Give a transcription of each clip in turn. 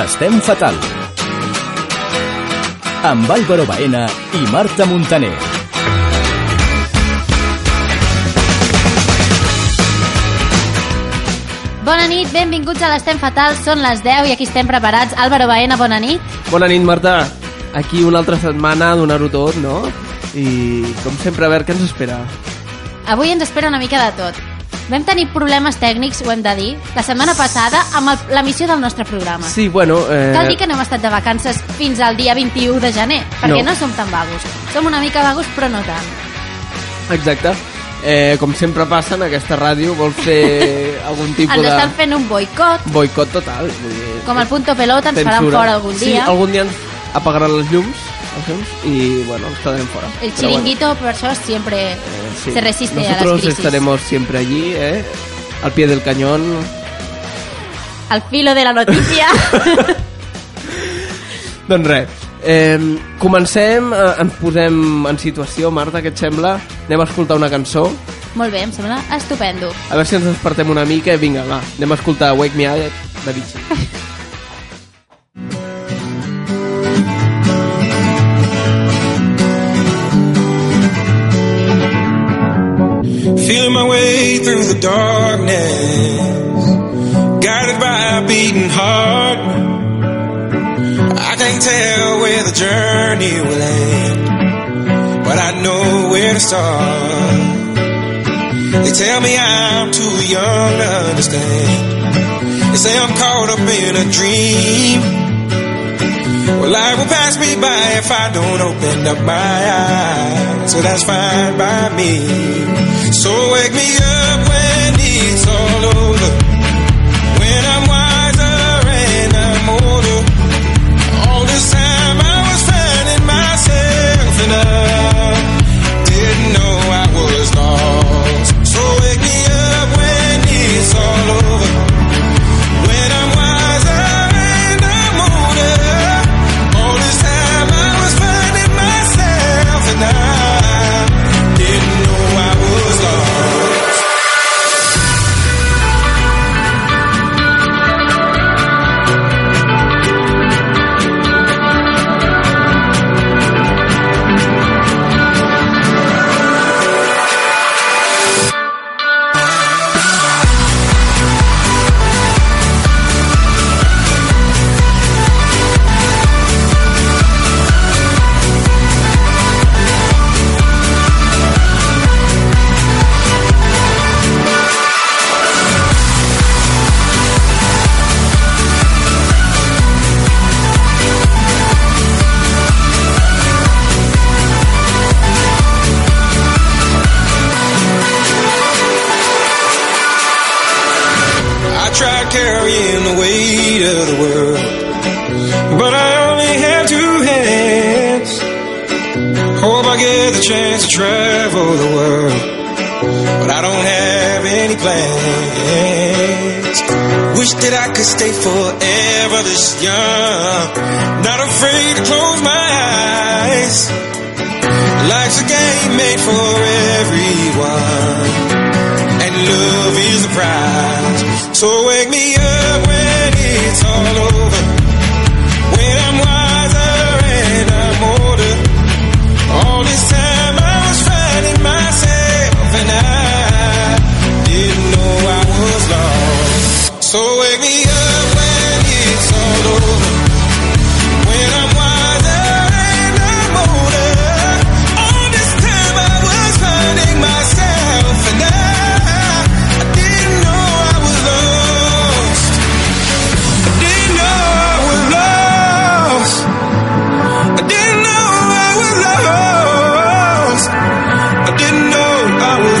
Estem fatal. Amb Álvaro Baena i Marta Montaner. Bona nit, benvinguts a l'Estem Fatal, són les 10 i aquí estem preparats. Álvaro Baena, bona nit. Bona nit, Marta. Aquí una altra setmana a donar-ho tot, no? I com sempre, a veure què ens espera. Avui ens espera una mica de tot. Vam tenir problemes tècnics, ho hem de dir, la setmana passada amb el- l'emissió del nostre programa. Sí, bueno... Eh... Cal dir que no hem estat de vacances fins al dia 21 de gener, perquè no, No. no som tan vagos. Som una mica vagos, però no tant. Exacte. Eh, com sempre passa en aquesta ràdio, vol fer algun tipus Ens de... estan fent un boicot, Boicot total. Vull dir, com el punto pelota, ens faran censura. fora algun dia. Sí, algun dia ens apagaran les llums, els llums i, bueno, ens quedarem fora. El Però bueno. chiringuito, per això, siempre Eh, sí. se resiste a las Nosotros crisis. estaremos siempre allí, ¿eh? Al pie del cañón. Al filo de la notícia. Doncs res, eh, comencem, eh, ens posem en situació, Marta, què et sembla? Anem a escoltar una cançó, Molt bé, em sembla estupendo. a veure si ens despertem una mica i vinga, va, anem a escoltar Wake Me Up de Vichy. Feeling my way through the darkness, guided by a beating heart. I can't tell where the journey will end, but I know where to start. They tell me I'm too young to understand. They say I'm caught up in a dream. Well, life will pass me by if I don't open up my eyes. So that's fine by me. So wake me up when it's all over. When I'm wiser and I'm older. All this time I was finding myself and I didn't know I was lost. So wake me up when it's all over. When I'm wiser and I'm older. All this time I was finding myself and I didn't know I was lost. I tried carrying the weight of the world, but I only have two hands. Hope I get the chance to travel the world, but I don't have any plans. Wish that I could stay forever this young, not afraid to close my eyes. Life's a game made for everyone and love is the prize. So wake me up when it's all over. When I'm wiser and I'm older. All this time I was finding myself and I didn't know I was lost. So wake me up when it's all over. When I'm wiser and I'm older, all this time I was finding myself, and I, I didn't know I was lost. I didn't know I was lost. I didn't know I was lost. I didn't know I was lost. I didn't know.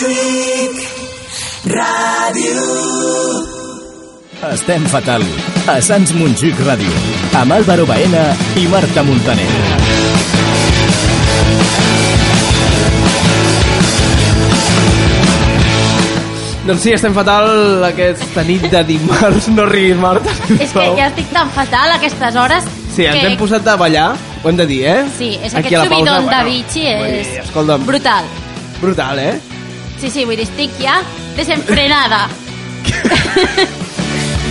Trick Ràdio. Estem fatal. A Sants Montjuïc Ràdio. Amb Álvaro Baena i Marta Montaner. Doncs sí, estem fatal aquesta nit de dimarts. No riguis, Marta. És que sisplau. ja estic tan fatal a aquestes hores Sí, ens que... hem posat a ballar, ho hem de dir, eh? Sí, és Aquí Aquí aquest a la pausa, subidon de bueno, bitxi vull dir, és escolta'm. brutal. Brutal, eh? Sí, sí, vull dir, estic ja desenfrenada.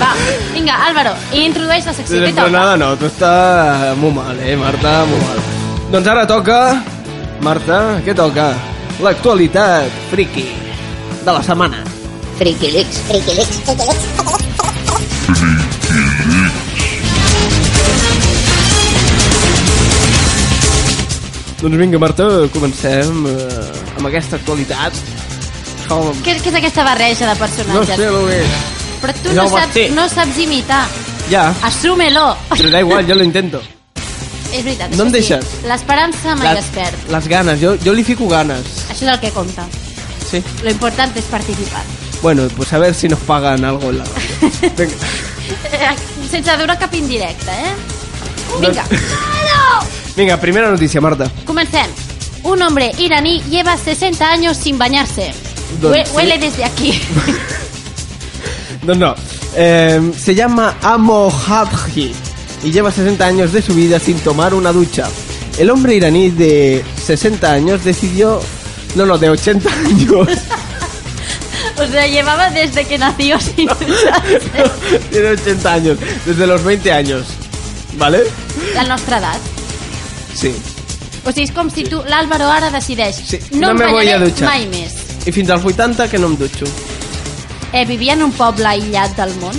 Va, vinga, Álvaro, introdueix la secció que Però toca. nada, no, tu està molt mal, eh, Marta, molt mal. Doncs ara toca... Marta, què toca? L'actualitat friki de la setmana. Friquilix. Friquilix. Doncs vinga, Marta, comencem eh, amb aquesta actualitat. Com... Què, què és aquesta barreja de No personatges? sé el que és. Però tu Ja no ho vas saps, fer. no saps imitar. Ja, Assúmelo. però da igual, jo lo intento. És veritat. No això em sí. deixes. L'esperança mai Les- es perd. Les ganes, jo, jo li fico ganes. Això és el que compta. Sí. Lo important és participar. Bueno, pues a ver si nos pagan algo en la radio. Venga. Eh, Sense veure cap indirecte, eh? Vinga. Venga, primera noticia, Marta. Comencem. Un hombre iraní lleva 60 años sin bañarse. Doncs Hue- sí. Huele desde aquí. No, no. Eh, se llama Amo Hadji y lleva 60 años de su vida sin tomar una ducha. El hombre iraní de 60 años decidió... No, no, de 80 años. O sea, llevaba desde que nació sin ducharse. Tiene 80 años. Desde los 20 años. ¿Vale? La nostra edat. Sí. O sigui, és com si tu, l'Àlvaro, ara decideix Sí, no, no em me voy a banyaré duchar." mai més. I fins als 80 que no em dutxo. Eh, vivia en un poble aïllat del món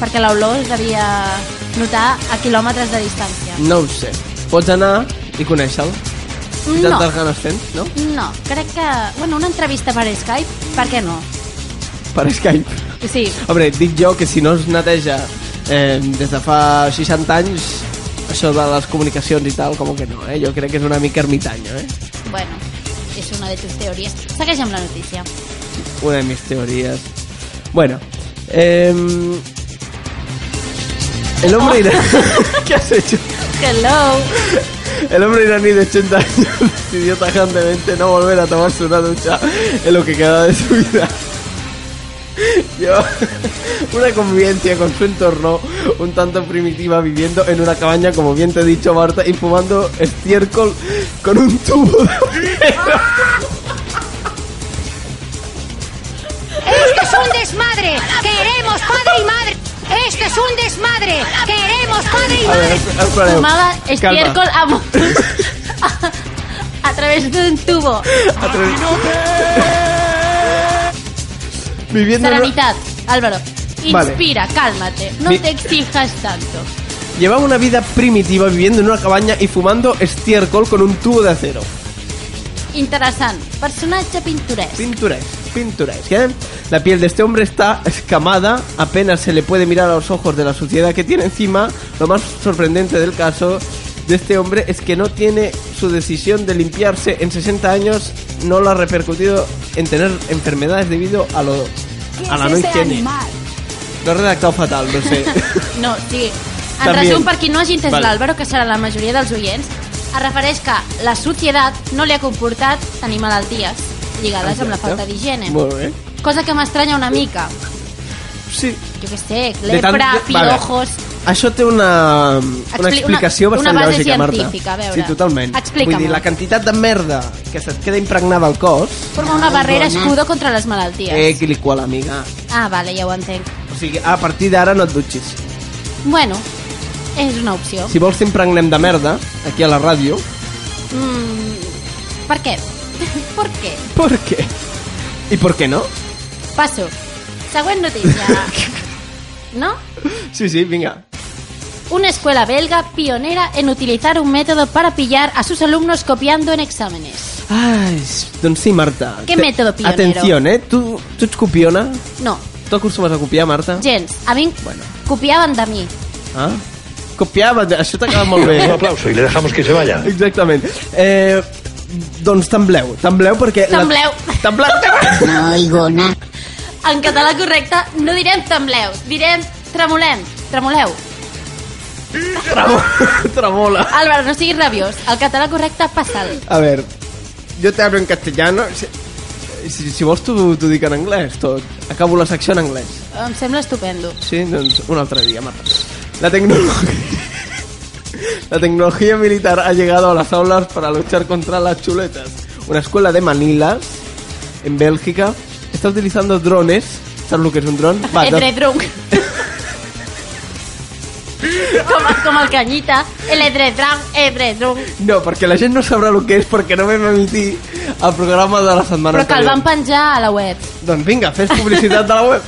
perquè l'olor es devia notar a quilòmetres de distància. No ho sé. Pots anar i conèixer-lo. Si No, tantes ganes tens, no? no, crec que... Bueno, una entrevista per Skype, per què no? Per Skype. Sí, Hombre, dic jo que si no es neteja eh, des de fa 60 anys, això de les comunicacions i tal, com que no, eh? Jo crec que és una mica ermitanyo, eh? bueno, és una de tus teories. Segueix amb la notícia. Una de mis teories. Bueno, eh... El hombre iraní... ¿Qué has hecho? Hello! El hombre iraní de 80 años decidió tajantemente no volver a tomarse una ducha en lo que quedaba de su vida. Lleva una convivencia con su entorno un tanto primitiva viviendo en una cabaña, como bien te he dicho Marta, y fumando estiércol con un tubo de... Esto es un desmadre. Queremos padre y madre. Esto es un desmadre. Queremos padre y A ver, madre. espereu. Fumava Calma. estiércol Ah, amb... a, a través d'un tubo. A través- Viviendo en una- Serenidad, Álvaro. Vale. Inspira, cálmate. No Mi- te exijas tanto. Llevaba una vida primitiva viviendo en una cabaña y fumando estiércol con un tubo de acero. Interessant. Personatge pintoresc. Pinturesc, pinturesc, ¿eh? La piel de este hombre está escamada, apenas se le puede mirar a los ojos de la suciedad que tiene encima. Lo más sorprendente del caso de este hombre es que no tiene su decisión de limpiarse en 60 años, no la ha repercutido en tener enfermedades debido a lo a la no higiene. Lo he redactado fatal, no sé. No, sí. En També. resum, per qui no hagi entès Vale. l'Àlvaro, que serà la majoria dels oients, es refereix que la societat no li ha comportat tenir malalties lligades amb la falta d'higiene. Molt bé. Cosa que m'estranya una mica. Sí. Jo què sé, De tant- lepra, de- pirojos... Vale. Això té una, una una- explicació una bastant base lògica, Marta. científica, a veure. Sí, totalment. Explica-m'ho. Vull dir, la quantitat de merda que se't queda impregnada al cos... Forma una barrera escudo contra les malalties. Doncs Eh, quiliqual, amiga. Ah, vale, ja ho entenc. O sigui, a partir d'ara no et dutxis. Bueno, és una opció. Si vols t'impregnem de merda, aquí a la ràdio... Mm, per què? per què? Per què? I per què no? Passo. Següent notícia. ¿No? Sí, sí, vinga. Una escuela belga pionera en utilizar un método para pillar a sus alumnos copiando en exámenes. Ai, doncs sí, Marta. Què Te- mètode pionero? Atenció, eh? Tu, tu ets copiona? No, Tu acostumes a copiar, Marta? gens. A mi Bueno. bueno. copiaven de mi. Ah? Copiava, això t'ha quedat molt bé. Un aplauso y le dejamos que se vaya. Exactament. Eh, Doncs tembleu, tembleu perquè... la- Tembleu. Tembleu. No oigo nada. En català correcte no direm tembleu, direm tremolem, tremoleu. Tramo- Tramola. Álvaro, no siguis rabiós. El català correcte, passa'l. A ver, jo te hablo en castellano. Si, si, si vols t'ho t'ho dic en anglès, tot. Acabo la secció en anglès. Em sembla estupendo. Sí, doncs un altre día, Marta. La tecnología... La tecnología militar ha llegado a las aulas para luchar contra las chuletas. Una escuela de Manila, en Bélgica, está utilizando drones. ¿Sabes lo que es un dron? Va, Entre drunk. com, com el canyita, el edredrang, edredrung. No, porque la gente no sabrá lo que es porque no me emití al programa de la setmana Però que el ve. van penjar a la web. Doncs vinga, fes publicitat de la web.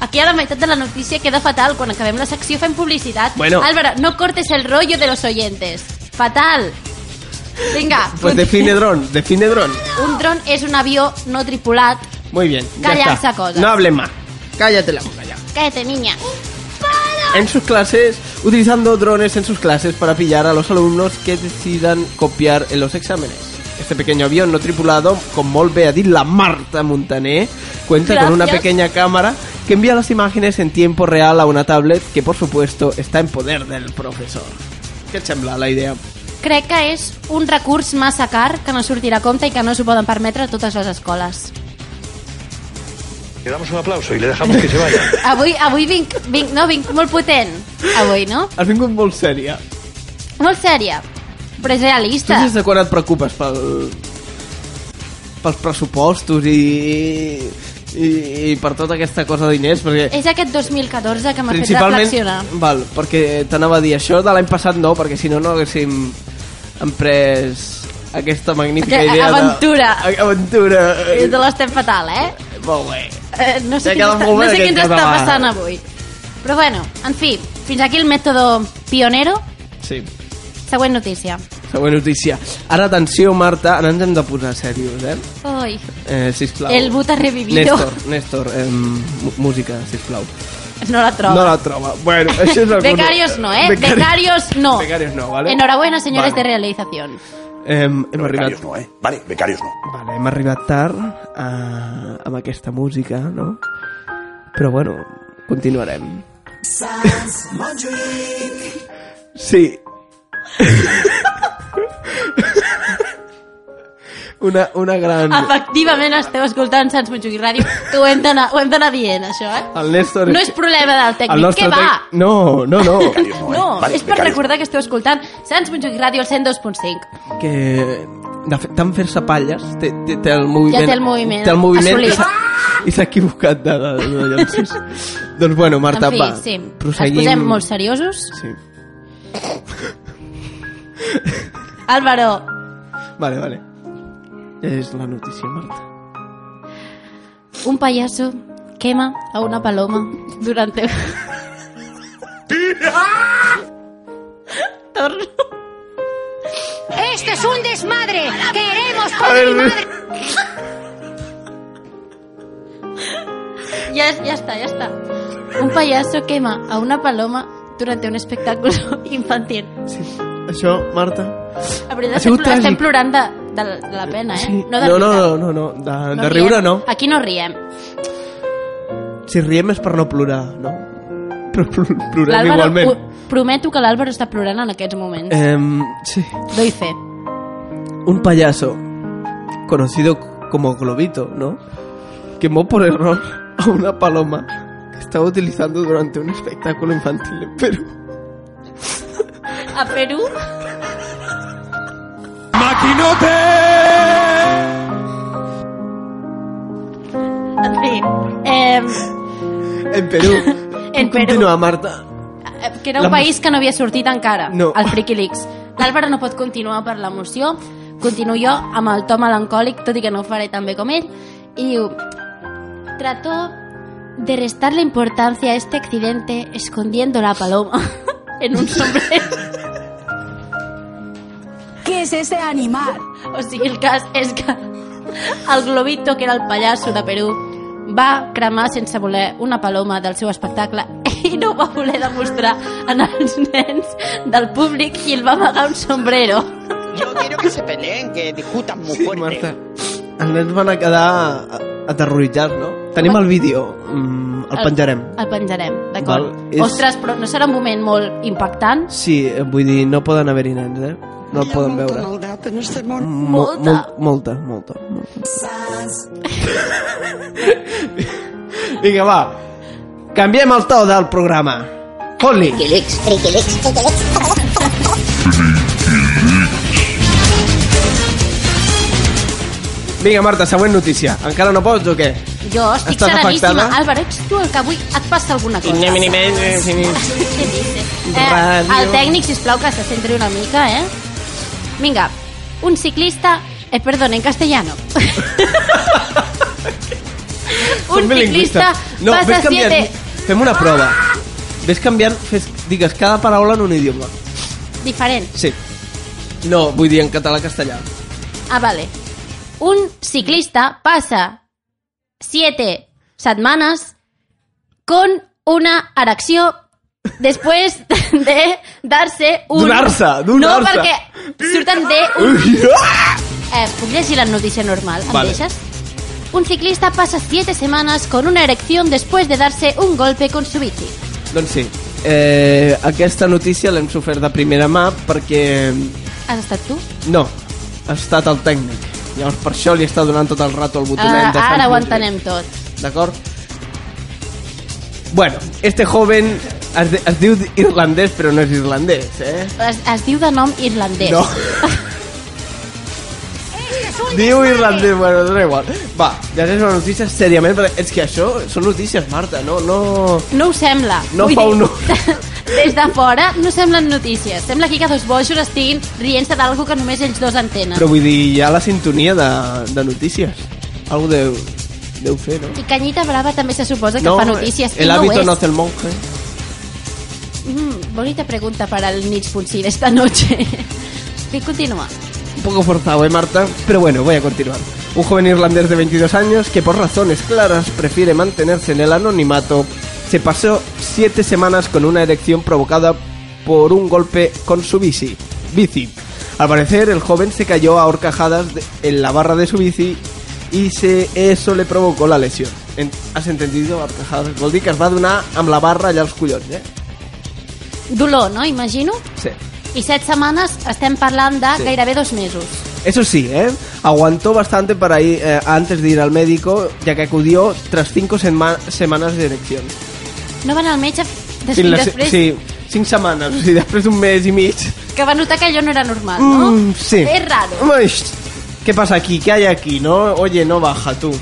Aquí a la meitat de la notícia queda fatal. Quan acabem la secció fem publicitat. Bueno. Álvaro, no cortes el rollo de los oyentes. Fatal. Vinga. Pues define dron, define dron. Un dron és un avió no tripulat. Muy bien, ya Callarse está. cosas. No hable más. Cállate la boca ya. Cállate, niña. en sus clases, utilizando drones en sus clases para pillar a los alumnos que decidan copiar en los exámenes. Este pequeño avión no tripulado, con molt bé a dir la Marta Montaner, cuenta con una Gracias. pequeña cámara que envía las imágenes en tiempo real a una tablet que, por supuesto, está en poder del profesor. ¿Qué et sembla la idea? Crec que és un recurs massa car que no sortirà a compte i que no s'ho poden permetre a totes les escoles. Le damos un aplauso y le dejamos que se vaya. Avui, avui vinc, vinc, no, vinc molt potent. Avui, no? Has vingut molt sèria. Molt sèria. Però és Tu realista. des de quan et preocupes pel, pels pressupostos i, i, i per tota aquesta cosa de diners? Perquè És aquest 2014 que m'ha fet reflexionar. Principalment, val, perquè t'anava a dir això de l'any passat no, perquè si no no haguéssim emprès aquesta magnífica Aquella idea aventura. de... A- Aventura. Eh, De l'estem fatal, eh? Molt bé. Eh, no sé, què T'ha quedat ens, molt no bé sé què aquest ens està català. passant avui. Però bueno, en fi, fins aquí el mètode pionero. Sí. Següent notícia. Següent notícia. Ara, atenció, Marta, ara ens hem de posar serios, eh? Ui, eh sisplau. El Buta revivido. Néstor, Néstor, eh, música, sisplau. no la trobo. No la troba. Bueno, això és alguna... Becarios no, eh? Becarios, no. Becarios no, vale? Enhorabuena, señores Vale. de realización. Eh, hem arribat Becarios no, ¿eh? Vale, becarios no. Vale, hem arribat tard a, amb aquesta música, no? Però bueno, continuarem. Sí. Una, una gran... Ah, Efectivament, esteu escoltant Sants Montjuïc Ràdio. que Ho hem d'anar ho hem d'anar dient, això, eh? El Néstor... No és problema del el tècnic, nostre què va? tec- No, no, no. Becarios no, ¿eh? No, Vale, és per becarios. recordar que esteu escoltant Sants Montjuïc Ràdio, el 102.5. que de fet, tant fer-se palles té, té, té el moviment Ja té el moviment té el moviment assolit. i s'ha- i s'ha equivocat de, de, de llances doncs bueno Marta en fi, va sí, proseguim ens posem molt seriosos. sí. Álvaro, Vale, vale. És la notícia, Marta. un payaso quema a una paloma durante... Torno. Esto ¡Este es un desmadre. Queremos padre y madre. Ya, es- ya está, ya está. Un payaso quema a una paloma durante un espectáculo infantil. Sí. Això, Marta... La veritat Ha estem, sigut plor estem tràgic. plorant de, de, la- de la pena, eh? Sí. de no, riure. no, no, no, no. De, No de riem. riure no. Aquí no riem. Si riem és per no plorar, no? Però pl plorem L'Àlvaro, igualment. ho- prometo que l'Àlvaro està plorant en aquests moments. Eh. Em, sí. Doy fe. Un payaso, conocido como Globito, ¿no? Quemó por error a una paloma que estaba utilizando durante un espectáculo infantil en Perú. A Perú... ¡Maquinote! En fi, eh, En Perú. En Perú. eh, Continua, Marta. que era un La mus- país que no havia sortit encara, No. el Friki Leaks. L'Àlvaro no pot continuar per l'emoció, continuo jo amb el to melancòlic, tot i que no ho faré tan bé com ell, i diu... Trató de restar la importancia a este accidente escondiendo la paloma en un sombrero. ¿Qué es ese animal? O sigui, el cas és que el Globito, que era el pallasso de Perú, va cremar sense voler una paloma del seu espectacle i no ho va voler demostrar en els nens del públic i el va amagar un sombrero. Yo quiero que se peleen, que discutan muy Sí, fuerte. Marta. Ens eh, van a quedar a- aterroritzats, no? Tenim el vídeo. Mm, el penjarem. El penjarem, d'acord. Val, és- Ostres, però no serà un moment molt impactant? Sí, eh, vull dir, no poden haver-hi nens, eh? No el poden veure. Maldat en este món. Mo- Molta. mol- molta, molta, molta. Vinga, va. Canviem el to del programa. Fot-li. Freaky Leaks, Freaky Leaks. Vinga, Marta, següent notícia. Encara no pots o què? Jo estic Estàs sereníssima. afectada? Álvaro, ets tu el que avui et passa alguna cosa. Què dices? Eh, Ràdio. el tècnic, sisplau, que se centri una mica, eh? Vinga, un ciclista... Eh, perdón, en castellano. un Fem-me ciclista lingüista. no, ves pasa canviant. siete... Ah! Fem una prova. Ves canviant, fes, digues cada paraula en un idioma. Diferent. Sí. No, vull dir en català-castellà. Ah, vale. Un ciclista pasa siete semanas con una erección después de darse un... Donar-se, No, donar-se. perquè surten de... Un... Ui, ah! Eh, puc llegir la notícia normal? Em Vale. deixes? Un ciclista pasa siete semanas con una erección después de darse un golpe con su bici. Doncs sí. Eh, aquesta notícia l'hem sofert de primera mà perquè... Has estat tu? No, ha estat el tècnic. Llavors per això li està donant tot el rato el botonet. Ah, de Sant ara ho Roger. entenem tot. D'acord? Bueno, este joven es, de, es diu irlandès, però no és irlandès, eh? Es, es diu de nom irlandès. No. Este es un Diu desmadre. irlandès, bueno, dona igual. Va, ja és una notícia seriament, perquè és que això són notícies, Marta, no... no... No ho sembla. No Vull fa dir, honor. Des de fora no semblen notícies. Sembla aquí que dos bojos estiguin rient-se d'algú que només ells dos entenen. Però vull dir, hi ha la sintonia de, de notícies. Algú deu, deu fer, no? I Canyita Brava també se suposa que fa notícies. i El no ho hábito és. no hace el monje. Mm, bonita pregunta para el Nits.si de esta noche. I continua. Un poco forzado, ¿eh, Marta? Pero bueno, voy a continuar. Un joven irlandés de 22 años que por razones claras prefiere mantenerse en el anonimato, se pasó 7 semanas con una erección provocada por un golpe con su bici. Bici. Al parecer, el joven se cayó a horcajadas de- en la barra de su bici y se, eso le provocó la lesión. En- ¿Has entendido? Horcajadas. Vol dir que es va donar amb la barra allà als collons, eh? Dolor, no? Imagino. Sí. I set setmanes estem parlant de Sí. gairebé dos mesos. Eso sí, ¿eh? aguantó bastante para ir, eh, antes de ir al médico, ya que acudió tras cinco sema- semanas de erección. No van al metge des Sin las- després sí, cinco semanas, o sigui, després d'un mes i mig. que va notar que allò no era normal, Ah, no? Mm, sí. És raro. Ai, ¿Qué pasa aquí? ¿Qué hay aquí? No, oye, no baja tú.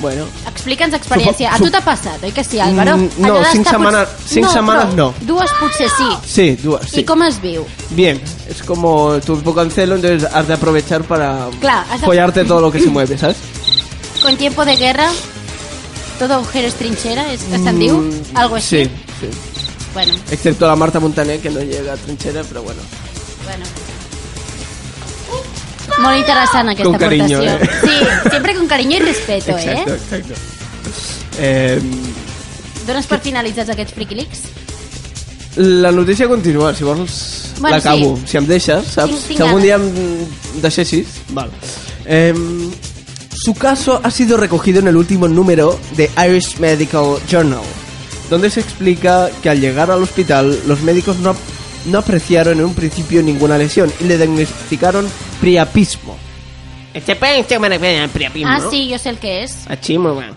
Bueno, Explica'ns experiència. Supo- A tu t'ha passat, oi que sí, Álvaro? Mm, no, Allò d'estar cinc pot- setmanes- cinc setmanes però no. Dues potser sí. sí, dudas, sí. sí. I com es viu? Bien, es como tu poco cancelo, entonces has de aprovechar para Claro, has de- follarte todo lo que se mueve, ¿sabes? Con tiempo de guerra, todo agujero es trinxera, és que se'n diu? Algo així? Mm, Sí, sí. Bueno, Excepto la Marta Montaner, que no llega a trinchera, pero bueno. bueno. Molt interessant aquesta Con cariño, eh. aportació. Sí, sempre con cariño i respeto, Exacto, eh? exacto. Eh, Dones per finalitzats aquests friquilics? La notícia continua, si vols Bueno, l'acabo, sí. si em deixes, saps? Tinc- tinc si ganas. algún día em deixessis. Val. Eh, su caso ha sido recogido en el último número de Irish Medical Journal, donde se explica que al llegar al hospital los médicos no, no apreciaron en un principio ninguna lesión y le diagnosticaron priapismo. Este puede este me refiere al priapismo. Ah, sí, jo sé el que és. Achimo, bueno.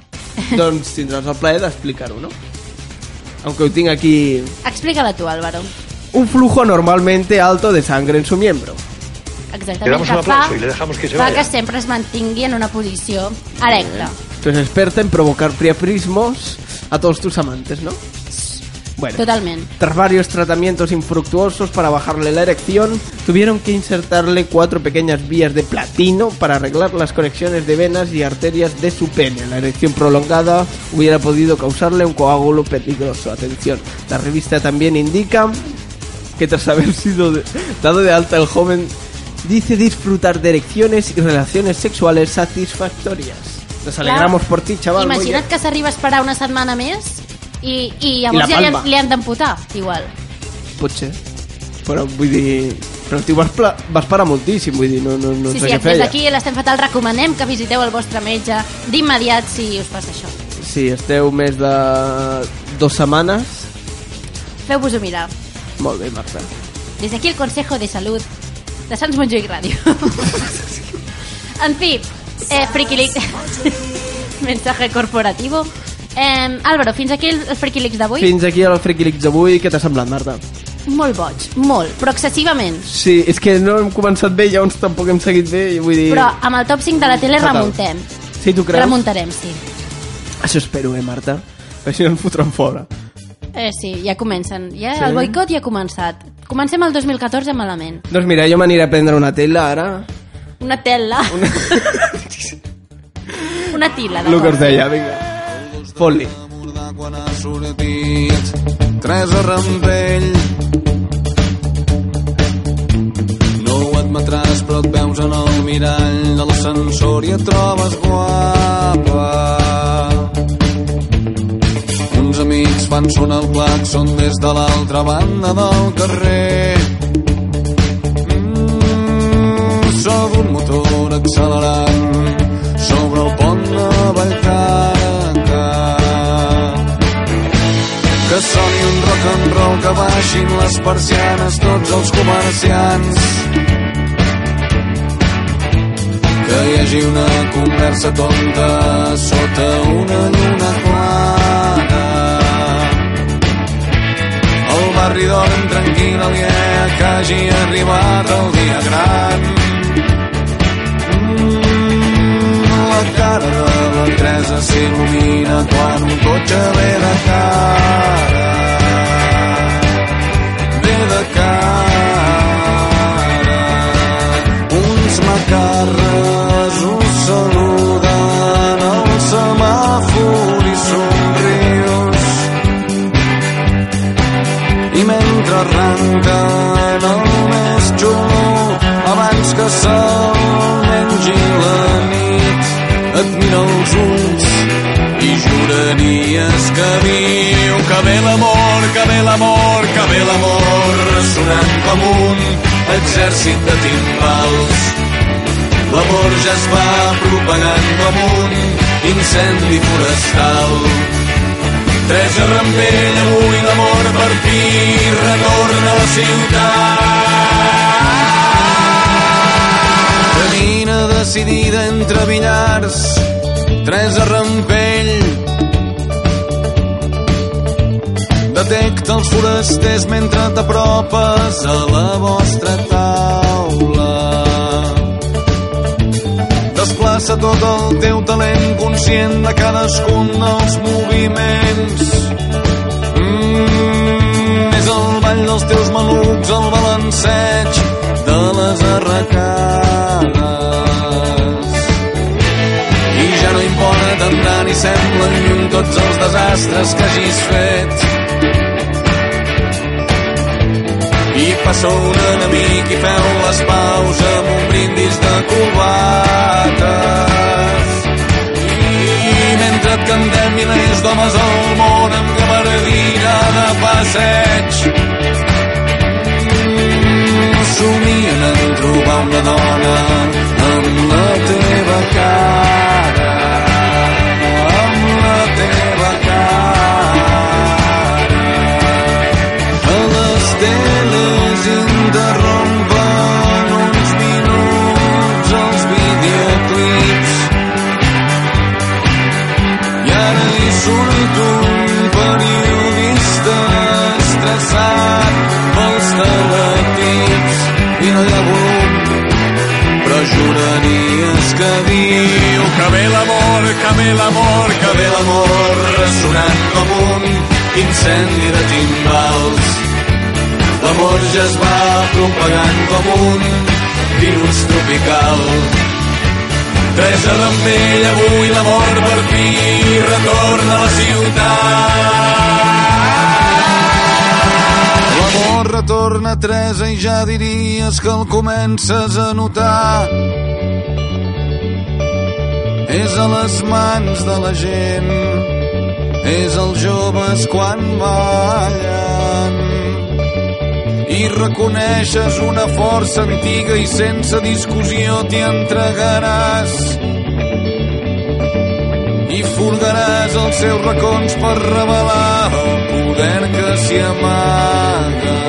doncs tindràs el plaer d'explicar-ho, no? Aunque ho tinc aquí Explica-la tu, Álvaro. un flujo anormalmente alto de sangre en su miembro. Le Exactament, damos un que fa, aplauso y le dejamos que se fa vaya. que sempre es mantingui en una posició erecta. Tú eres experta en provocar priapismos a todos tus amantes, ¿no? Bueno, Totalment. tras varios tratamientos infructuosos para bajarle la erección, tuvieron que insertarle cuatro pequeñas vías de platino para arreglar las conexiones de venas y arterias de su pene. La erección prolongada hubiera podido causarle un coágulo peligroso. Atención, la revista también indica que tras haber sido de- dado de alta el joven dice disfrutar de erecciones y relaciones sexuales satisfactorias. Nos alegramos por ti, chaval. muy bien. Imagina't que s'arriba a esperar una setmana més i, i I la llavors ja li, han- palma. li han d'amputar, igual. Potser. Però vull dir... Però el tio va, espla- va esperar moltíssim, vull dir, no, no, no Sí, sé sí, què des feia. d'aquí a l'Estem Fatal recomanem que visiteu el vostre metge d'immediat si us passa això. Sí, esteu més de dues setmanes. Feu-vos-ho mirar. Molt bé, Marta. Des d'aquí el Consejo de Salud de Sants Montjuïc Ràdio. en fi, eh, Friquilix... Mensaje corporativo. Eh, Álvaro, fins aquí el, el Friquilix d'avui. Fins aquí al Freaky Leaks d'avui. Què t'ha semblat, Marta? Molt boig, molt, però excessivament. Sí, és que no hem començat bé, llavors tampoc hem seguit bé. i Vull dir... Però amb el top 5 de la tele Fatal. remuntem. Sí, tu creus? Remuntarem, sí. Això espero, eh, Marta? Perquè si no ens fotran fora. Eh, sí, ja comencen. Ja, Sí. El boicot ja ha començat. Comencem el 2014 malament. Doncs mira, jo m'aniré a prendre una tela ara. Una tela. Una, Una tila, El que us d'acord. deia, vinga. Fot-li. quan ha sortit tres a rampell no ho admetràs però et veus en el mirall de l'ascensor i et trobes guapa uns amics fan sonar el claxon des de l'altra banda del carrer mm, so d'un motor accelerant sobre el pont de Vallcarca. Que soni un rock and roll, que baixin les persianes tots els comerciants. Que hi hagi una conversa tonta sota una lluna clara. El barri dorm tranquil, aliè, que hagi arribat el dia gran. Mm, La cara de la Teresa s'il·lumina quan un cotxe ve de cara. Ve de cara. Uns macarres ho saluden al semàfor i somrius. I mentre arrenquen el més xulo, abans que se'l mengi la nit, et mira els ulls i juraries que viu, que ve l'amor, que ve l'amor, que ve l'amor, sonant com un exèrcit de timbals. L'amor ja es va propagant com un incendi forestal. Teresa Rampell, avui l'amor per fi retorna a la ciutat. Camina decidida entre billars, Teresa Rampell. Detecta els forasters mentre t'apropes a la vostra taula. Desplaça tot el teu talent conscient de cadascun dels moviments. Mm, és el ball dels teus malucs, el balanceig de les arracades. I ja no importa tant i semblen lluny tots els desastres que hagis fet. i passa un enemic i feu les paus amb un brindis de cubates. I mentre et cantem milers d'homes al món amb gabardina de passeig, mm, somien en trobar una dona amb la teva cara, amb la teva cara. A les teles interrompen uns minuts els videoclips. I ara hi surt un periodista estressat pels teletips i no hi ha volum però juraries que diu que ve l'amor, que ve l'amor, que ve l'amor ressonant com un incendi de timbals. L'amor ja es va propagant com un virus tropical. Teresa Rampell, avui l'amor per fi retorna a la ciutat. L'amor retorna a Teresa i ja diries que el comences a notar. És a les mans de la gent, és als joves quan ballen. I i reconeixes una força antiga i sense discussió t'hi entregaràs i furgaràs els seus racons per revelar el poder que s'hi amaga.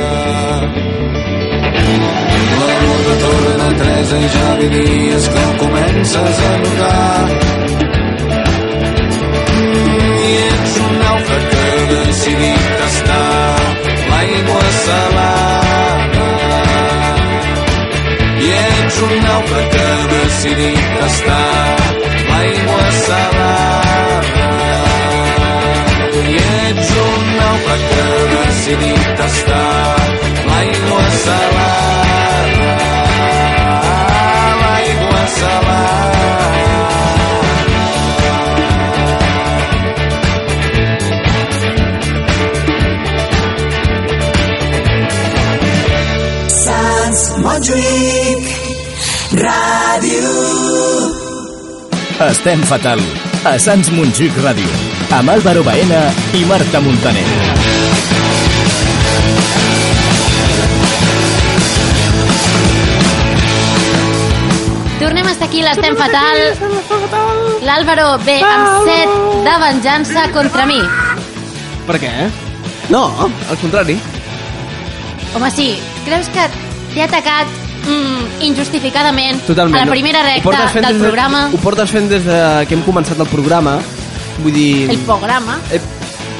La ruta torna de Teresa i ja diries que ho comences a notar. I ets un nàufrag que ha decidit tastar l'aigua salada. I ets un nàufrag que ha decidit tastar l'aigua salada. I ets un nàufrag que ha decidit tastar l'aigua salada. L'aigua salada. Sants Montjuïc Ràdio Estem fatal. A Sants Montjuïc Ràdio. Amb Álvaro Baena i Marta Montaner. Tornem a estar aquí, l'estem fatal. L'Àlvaro ve amb set de venjança contra mi. Per què? eh? No, al contrari. Home, sí, creus que t'he atacat mm, injustificadament Totalment. a la primera Ho portes recta fent del des de- programa, Ho portes fent des de que hem començat el programa. Vull dir... el programa, Eh,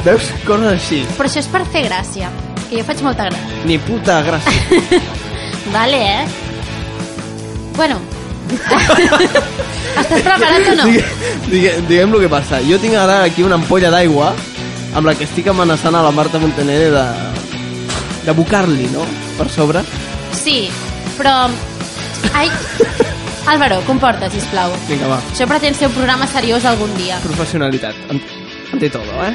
veus? Coses així. però això és per fer gràcia, que jo faig molta gràcia. Ni puta gràcia. Vale, eh? Bueno. Estàs preparat o no? Digue, digue, diguem lo que passa. Jo tinc ara aquí una ampolla d'aigua amb la que estic amenaçant a la Marta Montaner de, de bucar-li, no? Per sobre. Sí, però... Ai, Álvaro, comporta, sisplau. Vinga, va. Això pretén ser un programa seriós algun dia. Professionalitat. Ant- Ante todo, eh?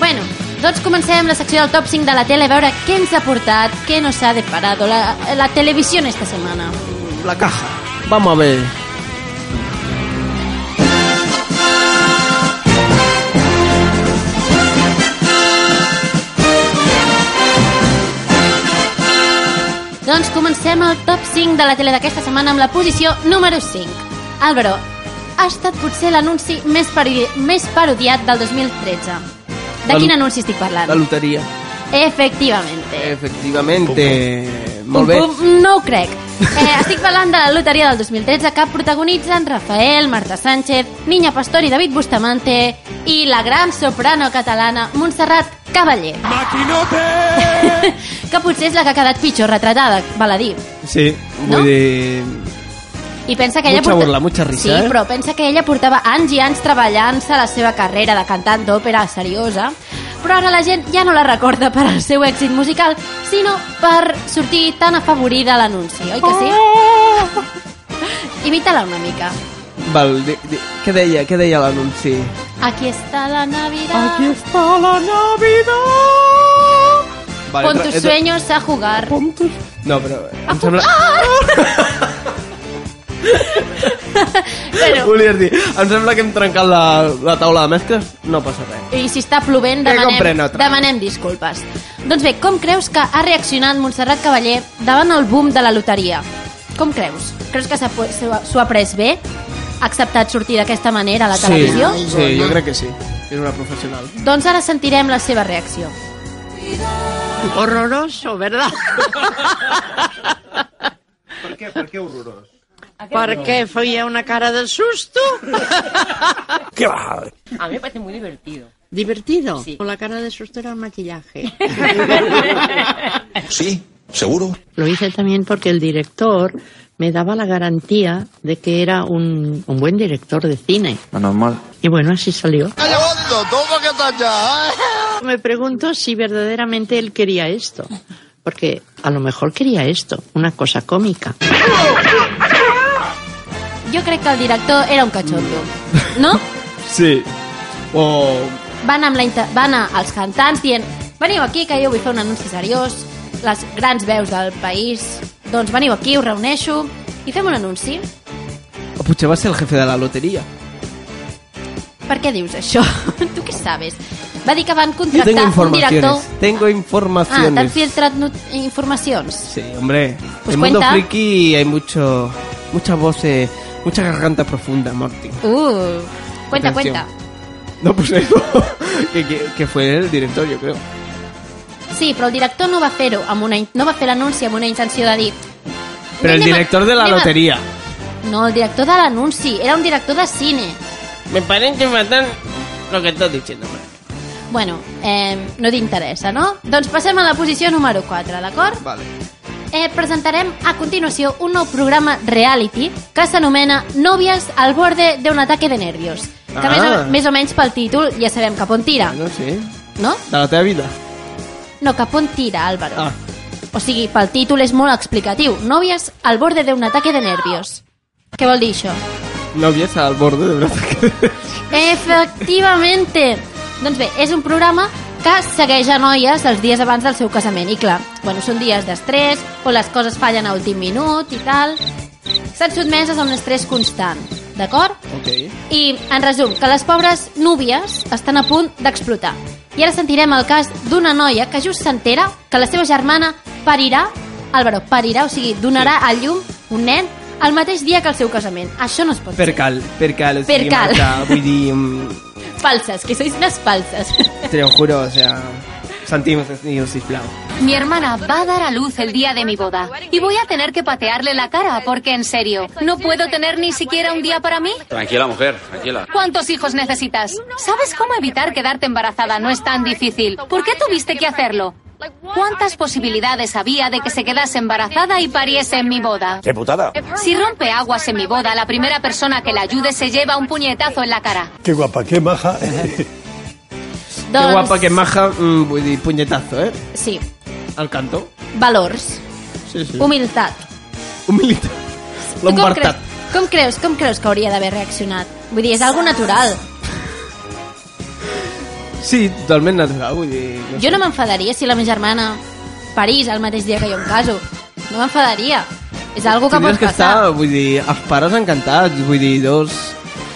Bueno, doncs comencem la secció del top 5 de la tele a veure què ens ha portat, què nos ha deparado la, la televisió esta setmana. La caja. Vamos a ver. Doncs comencem el top 5 de la tele d'aquesta setmana amb la posició número 5. Álvaro, ha estat potser l'anunci més, pari- més parodiat del 2013. De La quin lo- anunci estic La parlant? loteria. Efectivamente. Efectivamente. Eh, Molt bé. Pum, pum, no ho crec. Eh, estic parlant de la loteria del 2013 que protagonitzen Rafael, Marta Sánchez, Niña Pastor i David Bustamante i la gran soprano catalana Montserrat Cavaller. Maquinote! que potser és la que ha quedat pitjor retratada, val a dir. Sí, vull No? dir... I pensa que ella Mucha burla, mucha risa, Sí, eh? però pensa que ella portava anys i anys treballant-se la seva carrera de cantant d'òpera seriosa, però ara la gent ja no la recorda per al seu èxit musical, sinó per sortir tan afavorida a l'anunci, oi que Ah! sí? Imita-la una mica. Val, di, di, què deia, què deia l'anunci? Aquí està la Navidad, está la Navidad. con tus sueños a jugar. No, però... A Em sembla... Bueno, Volies dir, em sembla que hem trencat la, la taula de mescles. No passa res. i si està plovent Que compren demanem, altra. demanem disculpes. Doncs bé, com creus que ha reaccionat Montserrat Cavaller davant el boom de la loteria? Com creus? Creus que s'ha po- s'ho ha- s'ho ha pres bé? Ha acceptat sortir d'aquesta manera a la televisió? Sí, sí, jo crec que sí. És una professional. Doncs ara sentirem la seva reacció. Horroroso, ¿verdad? Per què? Per què horrorós? Porque fue una cara de susto. Què va? A mí me parece muy divertido. Divertido. Sí. Con la cara de susto era el maquillaje. Sí, seguro. Lo hice también porque el director me daba la garantía de que era un, un buen director de cine. Normal. Y bueno, así salió. Hondo, toma que estàs ja, eh? Me pregunto si verdaderamente él quería esto. Porque a lo mejor quería esto, una cosa cómica. Jo crec que el director era un catxondo, no? Sí. O... Va anar, amb la inter... va anar als cantants dient veniu aquí que jo vull fer un anunci seriós, les grans veus del país, doncs veniu aquí, us reuneixo i fem un anunci. o potser va ser el jefe de la loteria. Per què dius això? tu què sabes? va dir que van Yo tengo contractar un director... informaciones. Ah, Tengo t'han informaciones. filtrat not- informacions. Sí, hombre. Pues en el mundo cuenta. friki hay mucho, muchas voces, mucha garganta profunda, Morty. Uh, cuenta, Atención. cuenta. No, pues eso. que, que, que fue el director, yo creo. Sí, però el director no va fer-ho amb una... in- No va fer l'anunci amb una intenció de dir... Pero el Anem a- director de la anem a- lotería. No, el director de l'anunci. Era un director de cine. Me parece fatal lo que estás diciendo. hombre. Bueno, eh, no t'interessa, no? Doncs passem a la posició número 4, d'acord? Vale. Eh, presentarem a continuació un nou programa reality que s'anomena Nòvies al borde d'un ataque de nervios. Que Ah. més, o, més o menys pel títol ja sabem cap on tira, No sé. no? De la teva vida. No, cap on tira, Álvaro. Ah. O sigui, pel títol és molt explicatiu. Nòvies al borde d'un ataque de nervios. Què vol dir això? Novias al borde de verdad. Efectivamente. Doncs bé, és un programa que segueix a noies els dies abans del seu casament. I clar, bueno, són dies d'estrès, on les coses fallen a últim minut i tal. Estan sotmeses a un estrès constant, d'acord? Ok. I, en resum, que les pobres núvies estan a punt d'explotar. I ara sentirem el cas d'una noia que just s'entera que la seva germana parirà, Álvaro, parirà, o sigui, donarà a llum un nen el mateix dia que el seu casament. Això no es pot ser. Percal, percal. o sigui, Percal. Marta, vull dir, mm, Falsas, que sois unas falsas. te lo juro, o sea, sentimos sentimos sisplau. Mi hermana va a dar a luz el día de mi boda y voy a tener que patearle la cara porque en serio, no puedo tener ni siquiera un día para mí. Tranquila, mujer, tranquila. ¿Cuántos hijos necesitas? ¿Sabes cómo evitar quedarte embarazada? No es tan difícil. ¿Por qué tuviste que hacerlo? ¿Cuántas posibilidades había de que se quedase embarazada y pariese en mi boda? ¡Qué putada! Si rompe aguas en mi boda, la primera persona que la ayude se lleva un puñetazo en la cara. Qué guapa, qué maja. Qué guapa, que maja, mm, vull dir, punyetazo, eh? Sí, Al canto. valors, Sí, sí. humilitat. Humilitat. Tu com, Lombardat. creus, com creus, com creus que hauria d'haver reaccionat? Vull dir, és algo natural. Sí, totalment natural, vull dir... No Jo no m'enfadaria si la meva germana parís el mateix dia que jo em caso. No m'enfadaria. És algo que pot Tindries que passar. estar, pues, vull dir, els pares encantats, vull dir, pues, dos...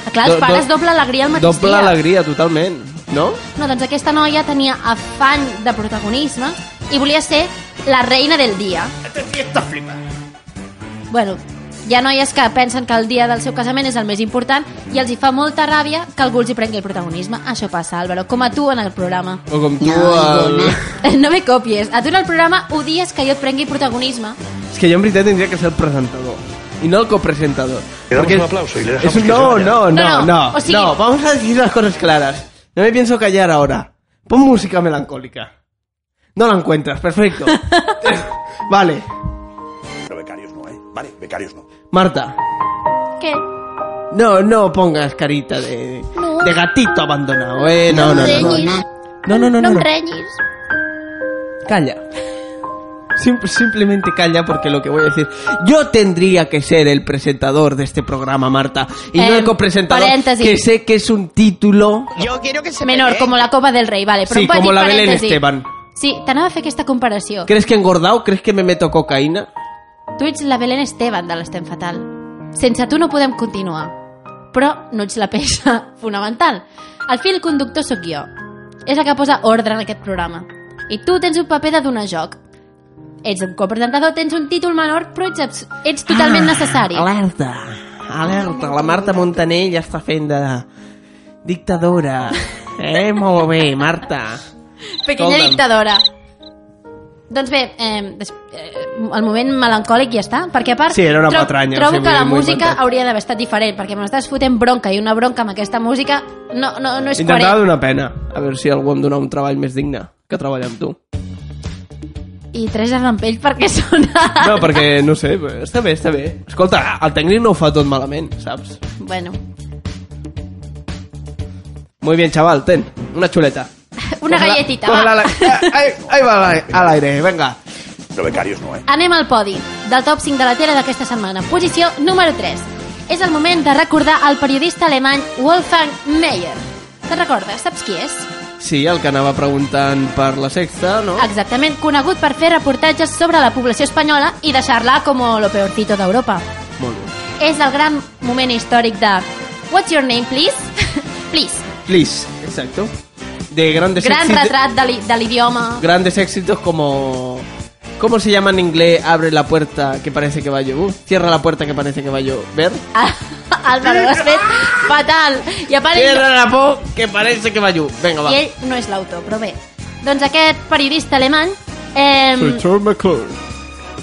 Ah, Clar, els do- pares do- doble alegria al mateix Doble dia. alegria, totalment, no? No, doncs aquesta noia tenia afany de protagonisme i volia ser la reina del dia. Esta flipa. Bueno, hi ha noies que pensen que el dia del seu casament és el més important i els hi fa molta ràbia que algú els hi prengui el protagonisme. Això passa, Álvaro, com a tu en el programa. O com tu... el... No me copies. A tu en el programa odies que jo et prengui protagonisme. És que jo en veritat tindria que ser el presentador. I no el copresentador. Le damos Perquè un és- aplauso y le Es dejamos un- que no, se vaya. no, no, no, No, no, no, o sigui- Vamos a decir las cosas claras. No me pienso callar ahora. Pon música melancólica. No la encuentras, perfecto. vale, Pero becarios no, ¿eh? Vale, becarios no. Marta. ¿Qué? No, no pongas carita de, No. de gatito abandonado, eh. No, no, em no. renyis. No, no, no, No no. em no. renyis. Calla. Sim- simplemente calla porque lo que voy a decir. Yo tendría que ser el presentador de este programa, Marta. Y no Eh, el copresentador. paréntesis. Que sé que es un título. Jo quiero que se Menor, com la Copa del Rei, vale. Però sí, un petit como la Belén parèntesi. Esteban. Sí, t'anava a fer aquesta comparació. ¿Crees que he engordado? ¿Crees que me meto cocaína? Tu ets la Belén Esteban de l'Estem Fatal. Sense tu no podem continuar. Però no ets la peça fonamental. El fil conductor sóc jo. És la que posa ordre en aquest programa. I tu tens un paper de donar joc. Ets un copresentador, tens un títol menor, però ets, abs- ets totalment Ah, necessari. Alerta, alerta. La Marta Montaner ja està fent de dictadora. Eh, molt bé, Marta. Pequena Escolta'm. dictadora. Doncs bé, eh, des- eh, el moment melancòlic ja està, perquè a part Sí, era una patranya, trobo sí, que la m'ho he música inventat. hauria d'haver estat diferent, perquè m'estàs fotent bronca i una bronca amb aquesta música no, no, no és Intentava coherent. donar pena. A veure si algú em dona un treball més digne que treballar amb tu. I tres rampells perquè sona... No, perquè, no sé, està bé, està bé. Escolta, el tècnic no ho fa tot malament, saps? Bueno, Muy bien, chaval, ten, una chuleta. una galletita, Cógela a va. la- ahí, ahí va al aire- al aire, venga. Pero becarios no, ¿eh? Anem al podi del top 5 de la tele d'aquesta setmana. Posició número 3. És el moment de recordar el periodista alemany Wolfgang Meyer. Te'n recordes? Saps qui és? Sí, el que anava preguntant per la sexta, no? Exactament, conegut per fer reportatges sobre la població espanyola i deixar-la com lo peorcito d'Europa. Molt bé. És el gran moment històric de What's your name, please? please. Please, exacto. de grandes Gran éxitos. retrat de l'i- de l'idioma. Grandes éxitos como. ¿Cómo se llama en inglés? Abre la puerta que parece que va a llover. Uh, Cierra la puerta que parece que va a llover. Álvaro, ho has fet fatal. I a part... Cierra la por que parece que va a llover. Venga, va. I ell no és l'autor, però bé. Doncs aquest periodista alemany... Eh, Return McClure.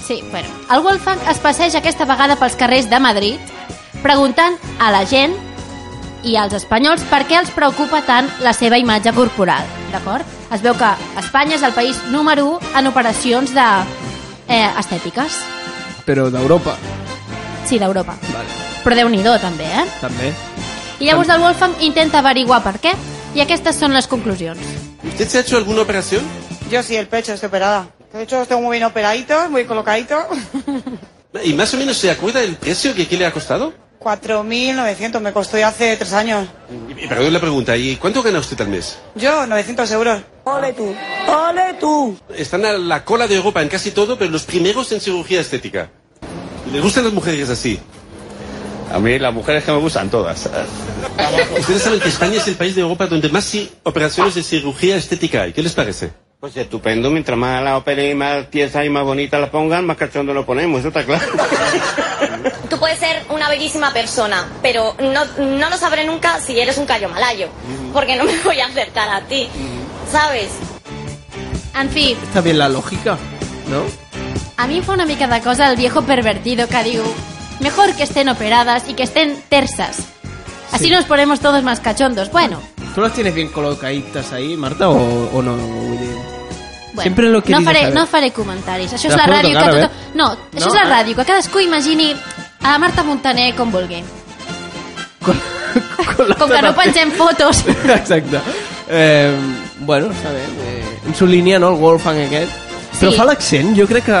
sí, bueno. El Wolfgang es passeja aquesta vegada pels carrers de Madrid preguntant a la gent i als espanyols per què els preocupa tant la seva imatge corporal, d'acord? Es veu que Espanya és el país número 1 en operacions de, eh, estètiques. Pero de Europa. Sí, d'Europa. Vale. Però Déu-n'hi-do, també, eh? También. I llavors el Wolfgang intenta averiguar per què i aquestes són les conclusions. ¿Usted se ha hecho alguna operación? Yo sí, el pecho, estoy operada. De hecho, estoy muy bien operadito, muy colocadito. ¿Y más o menos se acuerda el precio que, que le ha costado? 4.900 me costó ya hace tres años. Y, perdón la pregunta, ¿y cuánto gana usted al mes? Yo, 900 euros. Ole tú, ole tú. Están a la cola de Europa en casi todo, pero los primeros en cirugía estética. ¿Le gustan las mujeres así? A mí las mujeres que me gustan todas. Ustedes saben que España es el país de Europa donde más ci- operaciones de cirugía estética hay. ¿Qué les parece? Pues estupendo, mientras más la operen y más tiesa y más bonita la pongan, más cachondo lo ponemos, eso está claro. Tú puedes ser una bellísima persona, pero no, no lo sabré nunca si eres un callo malayo, porque no me voy a acercar a ti, ¿sabes? En fi, Está bien la lógica, ¿no? a mi em fa una mica de cosa el viejo pervertido que diu mejor que estén operadas y que estén tersas. Así nos ponemos todos más cachondos. Bueno, ¿Tú las tienes bien colocaditas ahí, Marta, o, o no, Willy? bueno Siempre lo que no, dices, a faré, ver. no faré comentaris. Això és la Te la puedo ràdio que tocar, a tothom... ver. No, això No, és la eh? ràdio, que cadascú imagini a la Marta Montaner com vulgui. Con la tota. Com que no pengem fotos... Exacte. Eh, bueno, sabem, eh, en su línia, no?, el Wolfgang aquest. Sí. Però fa l'accent, jo crec que...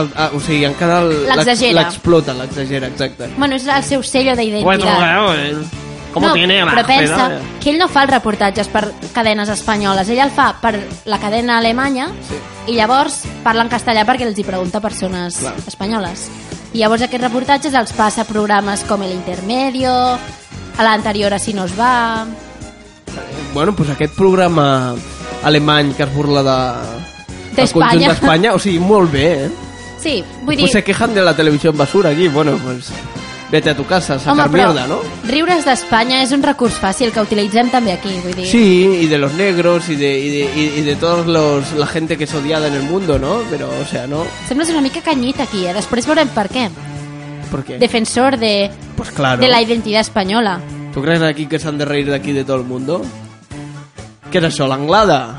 El, a, o sigui, encara... el- L'exagera. L'explota, l'exagera, exacte. Bueno, és el seu sello d'identitat. Bueno, eh. no, però pensa eh. que ell no fa els reportatges per cadenes espanyoles, ell el fa per la cadena alemanya sí. i llavors parla en castellà perquè els hi pregunta a persones Clar. espanyoles. I llavors aquests reportatges els passa a programes com El Intermedio, a l'anterior Así nos va... Bueno, pues aquest programa alemany que es burla de... del D'Espanya. conjunt d'Espanya, o sigui, molt bé, eh? Sí, vull dir... Pues se quejan de la televisión basura aquí, bueno, pues... Vete a tu casa a Home, sacar però mierda, ¿no? riure's d'Espanya és un recurs fàcil que utilitzem també aquí, vull dir... Sí, y de los negros y de, y de, y- y de todos los la gente que es odiada en el mundo, ¿no? Pero, o sea, no. Sembles una mica canyit aquí, eh? Després veurem per què. ¿Por qué? Defensor de, pues claro. de la identitat espanyola. ¿Tú crees aquí que se han de reír de aquí de todo el mundo? ¿Qué era eso, la anglada?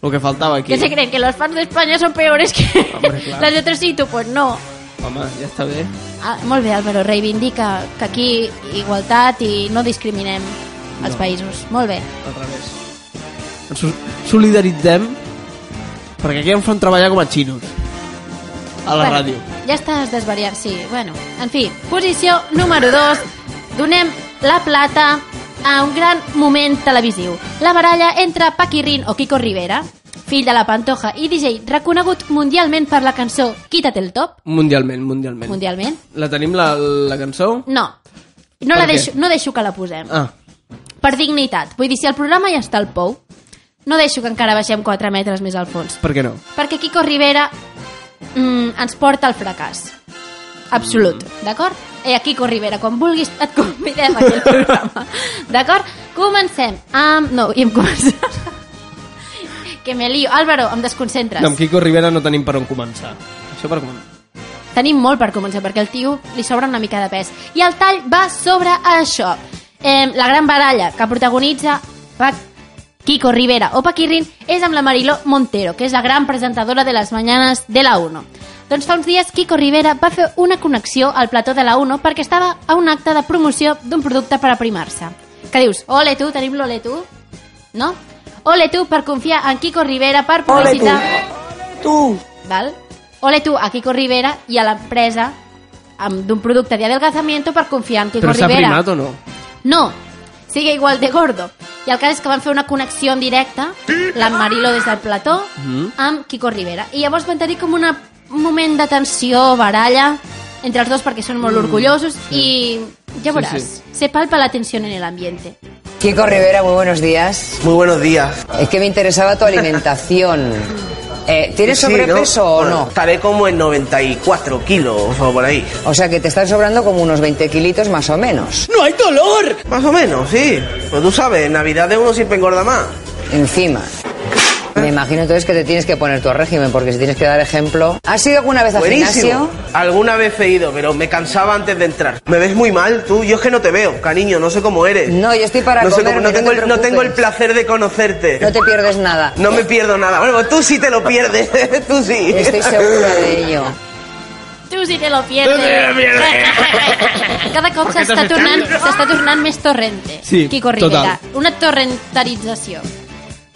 Lo que faltaba aquí. ¿Qué se creen? ¿Que los fans de España son peores que claro. las de otro sitio? Pues no. Mamá, ya está bien. Ah, molt bé, Álvaro, reivindica que aquí igualtat i no discriminem els No. països. Molt bé. Al revés. Ens so- solidaritzem perquè aquí em fan treballar com a xinos. A la Bueno. ràdio. Ja estàs desvariant, sí. Bueno, en fi, posició número 2. Donem la plata a un gran moment televisiu. La baralla entre Paquirrin o Kiko Rivera, fill de la Pantoja i DJ reconegut mundialment per la cançó Quítate el top, Mundialment, mundialment. mundialment. La tenim, la, la cançó? No. No, la Per què? deixo, no deixo que la posem. Ah, Per dignitat. Vull dir, si el programa ja està al pou, no deixo que encara baixem 4 metres més al fons. per què no? Perquè Kiko Rivera mm, ens porta al fracàs. Absolut, d'acord? Eh, Kiko Rivera, quan vulguis et convidem a aquell programa. D'acord? Comencem amb... No, i hem començat... que me lio. Álvaro, em desconcentres. No, amb Quico Rivera no tenim per on començar. Això per començar. Tenim molt per començar, perquè el tio li sobra una mica de pes. I el tall va sobre això. Eh, la gran baralla que protagonitza Pa- Kiko Rivera o Paquirrin és amb la Mariló Montero, que és la gran presentadora de les mañanes de la 1. Doncs fa uns dies Kiko Rivera va fer una connexió al plató de la 1 perquè estava a un acte de promoció d'un producte per aprimar-se. Que dius, ole tu, tenim l'ole tu, no? Ole tu per confiar en Kiko Rivera per Ole tu. publicitar... tu. Val? Ole tu a Kiko Rivera i a l'empresa amb- d'un producte de adelgazamiento per confiar en Kiko Però s'ha Rivera. primat o no? No, sigue igual de gordo. I el cas és que van fer una connexió en directe, la Mariló des del plató, Mm. amb Kiko Rivera. I llavors van tenir com una, un moment de tensió, baralla, entre els dos perquè són molt Mm, orgullosos i Sí, ja veuràs, sí. se palpa la tensió en el ambiente. Kiko Rivera, muy buenos días. Muy buenos días. Es que me interesaba tu alimentación. Eh, ¿Tienes Sí, sobrepeso o Bueno, no? Estaré como en 94 kilos o por ahí. O sea que te están sobrando como unos 20 kilitos más o menos. ¡No hay dolor! Más o menos, sí. Pues tú sabes, en Navidad de uno siempre engorda más. Encima. ¿Eh? Me imagino entonces que te tienes que poner tu régimen, porque si tienes que dar ejemplo. ¿Has ido alguna vez al Buenísimo. gimnasio? Alguna vez he ido, pero me cansaba antes de entrar. Me ves muy mal, tú. Yo es que no te veo, cariño. No sé cómo eres. No, yo estoy para no sé comerme, cómo- no, no tengo te el, no tengo el preocupes. placer de conocerte. No te pierdes nada. No me pierdo nada. Bueno, pues tú sí te lo pierdes. tú sí. Estoy segura de ello. Tú sí te lo pierdes. Tú sí te lo Cada cop Perquè s'està t'has tornant, estat- s'està tornant més torrente. Sí, Kiko Rivera. Una torrentarització.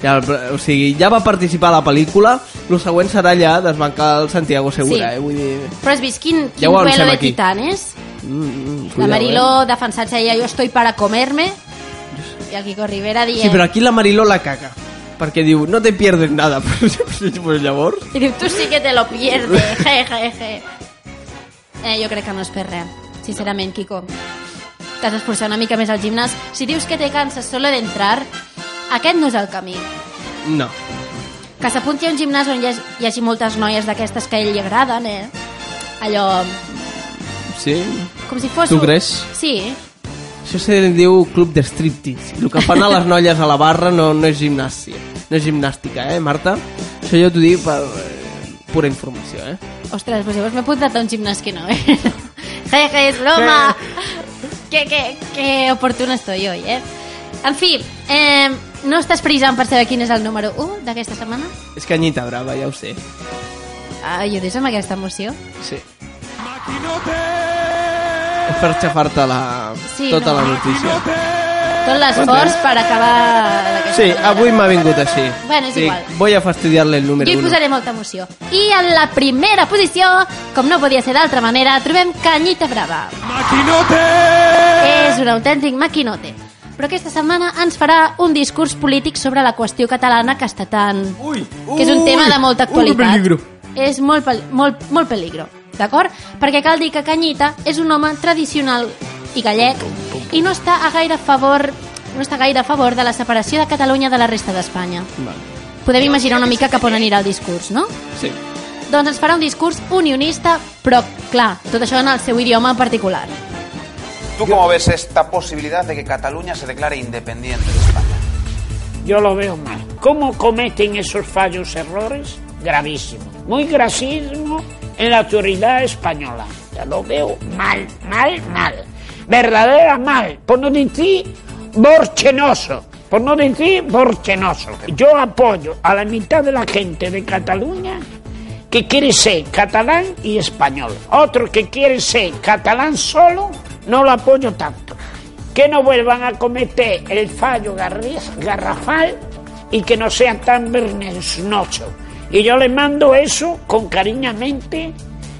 Ja, però, o sigui, ja va participar a la pel·lícula, el següent serà allà desbancar el Santiago Segura, Sí. eh? Vull dir... Però has vist quin, quin Ja ho duelo avancem de aquí. titanes? Mm, mm, La cuidado, Mariló defensant-se ella, jo estoy para comerme, i el Kiko Rivera Eh? dient... Sí, però aquí la Mariló la caga, perquè diu, no te pierdes nada. pues llavors... I diu, tu sí que te lo pierdes, je, je, je. Eh, jo crec que no és per res, sincerament, Kiko. T'has d'esforçar una mica més al gimnàs. Si dius que te canses solo d'entrar, aquest no és el camí. No. Que s'apunti a un gimnàs on hi, ha, hi hagi moltes noies d'aquestes que a ell li agraden, eh? Allò, Sí? com si fos... Tu un- creus? Sí, Això se li diu club de striptease. El que fan a les noies a la barra no, no és gimnàstica. No és gimnàstica, eh, Marta? Això jo t'ho dic per eh, pura informació, eh? Ostres, pues llavors m'he apuntat a un gimnàs que no, eh? Jeje, és broma! que, que, que oportuna estoy hoy, eh? En fi, eh, no estàs frisant per saber quin és el número 1 d'aquesta setmana? És canyita brava, ja ho sé. Ajudis amb aquesta emoció? Sí. És per xafar-te la... Sí, tota no. la notícia. Tot l'esforç per acabar... Sí, avui m'ha vingut així. Bueno, és Dic, igual. Voy a fastidiar-le el número Jo hi 1. posaré molta emoció. I en la primera posició, com no podia ser d'altra manera, trobem Canyita Brava. Maquinote! És un autèntic maquinote. Però aquesta setmana ens farà un discurs polític sobre la qüestió catalana que està tan... Ui, que és un tema de molta actualitat. És molt, pel molt, molt peligro, d'acord? Perquè cal dir que Canyita és un home tradicional i gallec i no està a gaire favor no està gaire a favor de la separació de Catalunya de la resta d'Espanya. Vale. Podem imaginar una mica cap on anirà el discurs, no? Sí. Doncs ens farà un discurs unionista, però, clar, tot això en el seu idioma en particular. ¿Tú cómo ves esta posibilidad de que Cataluña se declare independiente de España? Yo lo veo mal. ¿Cómo cometen esos fallos errores? Gravísimo. Muy grasismo en la autoridad española. Ya lo veo mal, mal, mal. Verdadera mal. Por no decir borchenoso. Por no decir borchenoso. Yo apoyo a la mitad de la gente de Cataluña que quiere ser catalán y español. Otro que quiere ser catalán solo, no lo apoyo tanto. Que no vuelvan a cometer el fallo garri- garrafal y que no sean tan vergonzosos. Y yo le mando eso con cariñamente,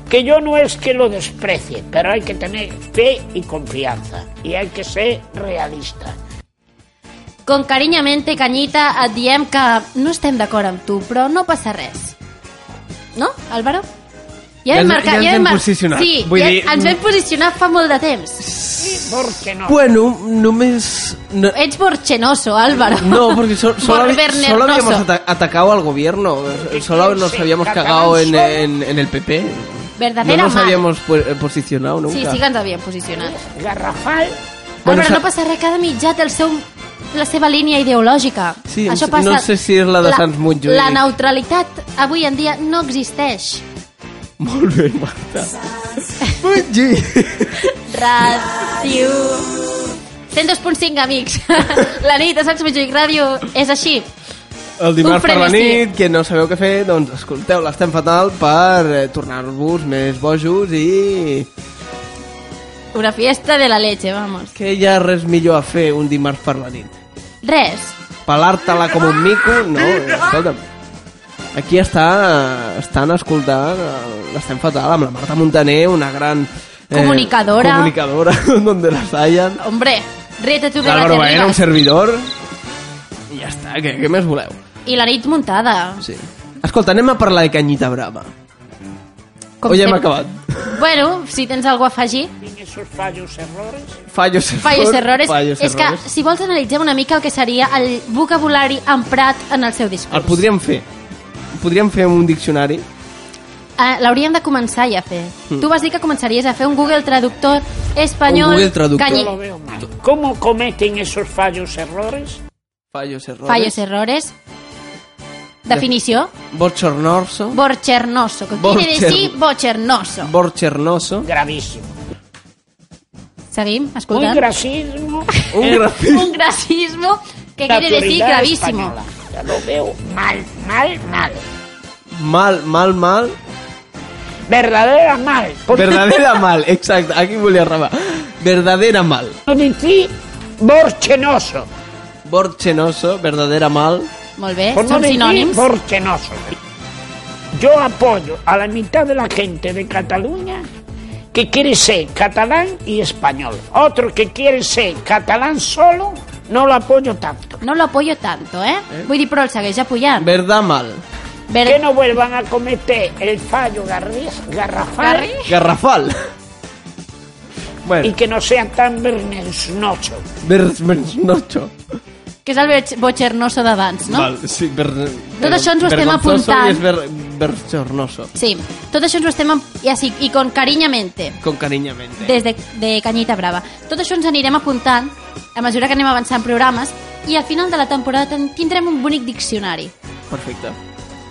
que yo no es que lo desprecie, pero hay que tener fe y confianza. Y hay que ser realista. Com carinyamente, Canyita, et diem que no estem d'acord amb tu, però no passa res. No, Álvaro? Ja ens- ja ens vam hem posicionat. Sí, Vull ja dir- ens vam posicionar fa molt de temps. Borchenoso. Bueno, només... No, Ets borchenoso, Álvaro. No, porque so- solo, habi- Borbernernoso. solo habíamos ata- atacado al gobierno. Solo nos habíamos cagado en, en- en el PP. No Verdadera nos mal. habíamos pu- eh, posicionado nunca. Sí, sí que ens havíem posicionat. Garrafal. Bueno, Álvaro, sa- no passa res, cada mitjà té el seu, la seva línia ideològica. Sí, em- no sé si és la de Sants Montjuïc. La neutralitat avui en dia no existeix. Molt bé, Marta. Mongi! Ràdio. 102.5, amics. la nit a Sants Montjuïc Ràdio és així. El dimarts Un per la frenesí. nit, que no sabeu què fer, doncs escolteu l'Estem Fatal per eh, tornar-vos més bojos i... Una fiesta de la leche, vamos. Que hi ha res millor a fer un dimarts per la nit. Res. Pelar-te-la com un mico? No, eh, escolta'm. Aquí està, eh, estan escoltant eh, l'Estem Fatal amb la Marta Montaner, una gran... eh, Comunicadora. Comunicadora, donde las hayan. Hombre, rete tu que L'Àlvaro te Baena, un arribes. servidor. I ja està, què, què més voleu? I la nit muntada. Sí. Escolta, anem a parlar de Canyita Brava. Com Oye, que- hem acabat. Bueno, si tens algú a afegir... Esos fallos, errores... Fallos, errors, Fallos, errors. fallos, és errors. que, si vols, analitzem una mica el que seria el vocabulari emprat en el seu discurs. El podríem fer. Podríem fer un diccionari. Eh, L'hauríem de començar ja a fer. Mm. Tu vas dir que començaries a fer un Google Traductor espanyol... Un Google Traductor. canyi- Yo lo ¿Cómo cometen esos fallos, errores? Fallos, errores. Fallos, errores. Definició. Bochornoso. Borchernoso. Que quiere Borcher- decir bochernoso. Borchernoso. Gravísimo. Seguim, escoltant. Un gracismo. Un Eh. gracismo. Pues un gracismo que La quiere decir autoridad gravísimo. española. Ya lo veo mal, mal, mal. Mal, mal, mal. Verdadera mal. Verdadera mal, exacto. Aquí volia rabar. Verdadera mal. No decir borchenoso. Borchenoso, verdadera mal. Molt bé, Por no són decir sinònims. borchenoso. Yo apoyo a la mitad de la gente de Cataluña que quiere ser catalán y español. Otro que quiere ser catalán solo, no lo apoyo tanto. No lo apoyo tanto, eh? Vull dir, però el segueix apoyant. Verdad mal. Que no vuelvan a cometer el fallo garri- garrafal. Garrafal. y Bueno, que no sean tan vergonzosos. Berchenoso. Que és el boch- bochernoso d'abans, no? Mal, sí, ber... Tot això ens ho estem vergonzoso apuntant. i és ber... berchornoso. Sí, tot això ens ho estem... amb- I, així, i con cariñamente, Con cariñamente. des de, de Canyita Brava. Tot això ens anirem apuntant a mesura que anem avançant programes i al final de la temporada ten- tindrem un bonic diccionari Perfecte.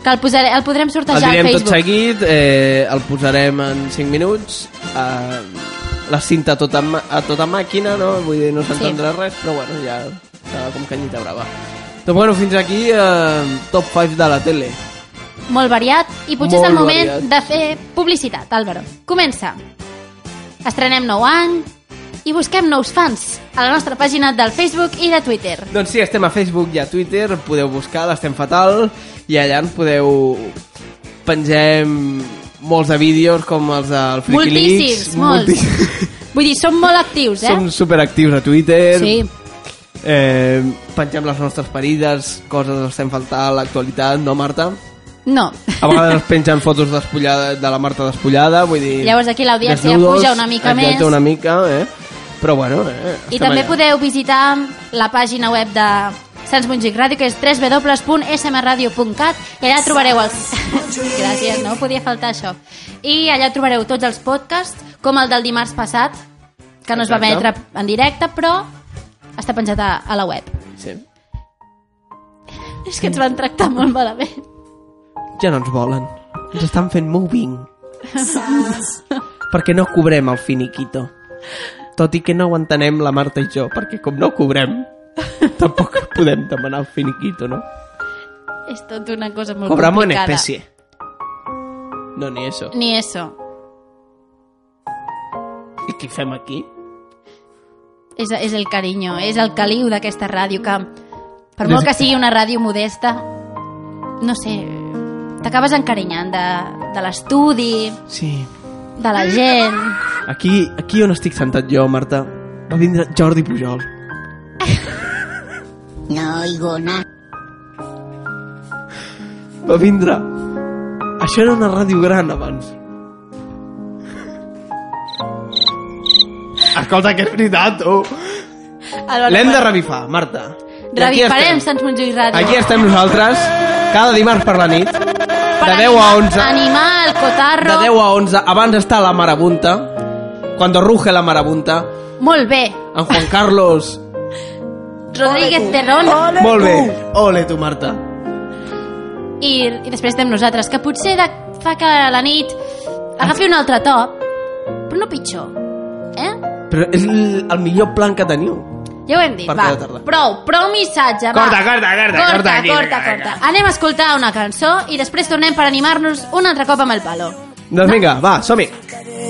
que el, posaré, el podrem El sortejar al direm tot Facebook. seguit, eh, el posarem en 5 minuts. Eh, la cinta a tota, ma- a tota màquina, no? Vull dir, no s'entendrà sí. res, però bueno, ja serà com canyita brava. Doncs bueno, fins aquí eh, top 5 de la tele. Molt variat i potser és el Molt moment variat. de fer publicitat, Álvaro. Comença. Estrenem nou any i busquem nous fans a la nostra pàgina del Facebook i de Twitter. Doncs sí, estem a Facebook i a Twitter, podeu buscar l'Estem Fatal i allà ens podeu... Pengem molts de vídeos com els del Freaky Leaks. Moltíssims, molts. Vull dir, som molt actius, eh? Som superactius a Twitter. Sí. Eh, pengem les nostres parides, coses que estem faltant a l'actualitat, no, Marta? No. A vegades es pengen fotos despullada, de la Marta despullada, vull dir... Llavors aquí l'audiència desnudos, puja una mica exacte, més. una mica, eh? Però bueno, eh? I estem també allà. podeu visitar la pàgina web de Sants Montjuïc Ràdio, que és www.smradio.cat i allà trobareu els... Gràcies, no podia faltar això. I allà trobareu tots els podcasts, com el del dimarts passat, que no es va Exacte. emetre en directe, però està penjat a, a la web. Sí. És que ens van tractar molt malament. Ja no ens volen. Ens estan fent moving. perquè no cobrem el finiquito. Tot i que no ho entenem la Marta i jo, perquè com no cobrem, tampoc podem demanar el finiquito, no? És tot una cosa molt Cobramos en complicada. especie. No, ni eso. Ni eso. I què fem aquí? És, és el carinyo, és el caliu d'aquesta ràdio que, per molt que sigui una ràdio modesta, no sé, t'acabes encarinyant de, de l'estudi, Sí. de la gent... Ah! Aquí, aquí on estic sentat jo, Marta, va vindre Jordi Pujol. No oigo nada. Va vindre... Això era una ràdio gran abans. Escolta, que és veritat, tu. L'hem de revifar, Marta. I aquí Revifarem estem. Sants Montjuïc Ràdio. Aquí estem nosaltres, cada dimarts per la nit, de 10 a 11. Animal, De cotarro... 10 a 11, abans està la marabunta, cuando ruge la marabunta, Molt bé. en Juan Carlos... Rodríguez Terrón. Molt bé, ole tu, Marta. I, I després estem nosaltres, que potser de, fa que la nit agafi un altre to, però no pitjor. Eh? Però és l- el millor plan que teniu. Ja ho hem dit, Per va. cada tarda. Prou, prou missatge, va. Corta, corta, corta, corta, corta aquí, corta, vinga, corta. Anem a escoltar una cançó i després tornem per animar-nos un altre cop amb el palo. Doncs vinga, va, som-hi.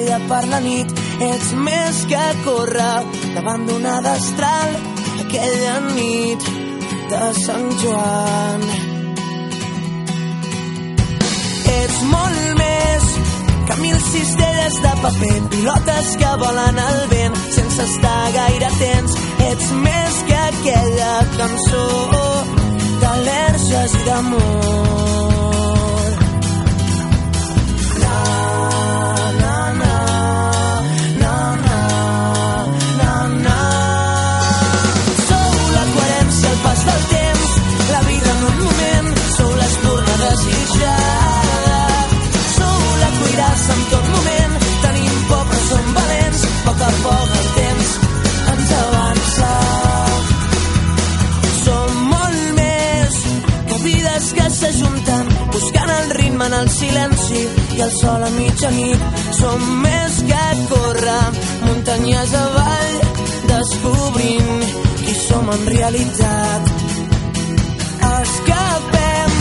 Ella per la nit ets més que córrer davant d'un destral aquella nit de Sant Joan. Ets molt més que mil cistelles de paper, pilotes que volen al vent sense estar gaire atents. Ets més que aquella cançó d'al·lèrgies i d'amor. La, el sol a mitjanit. Som més que córrer muntanyes avall, descobrint qui som en realitat. Escapem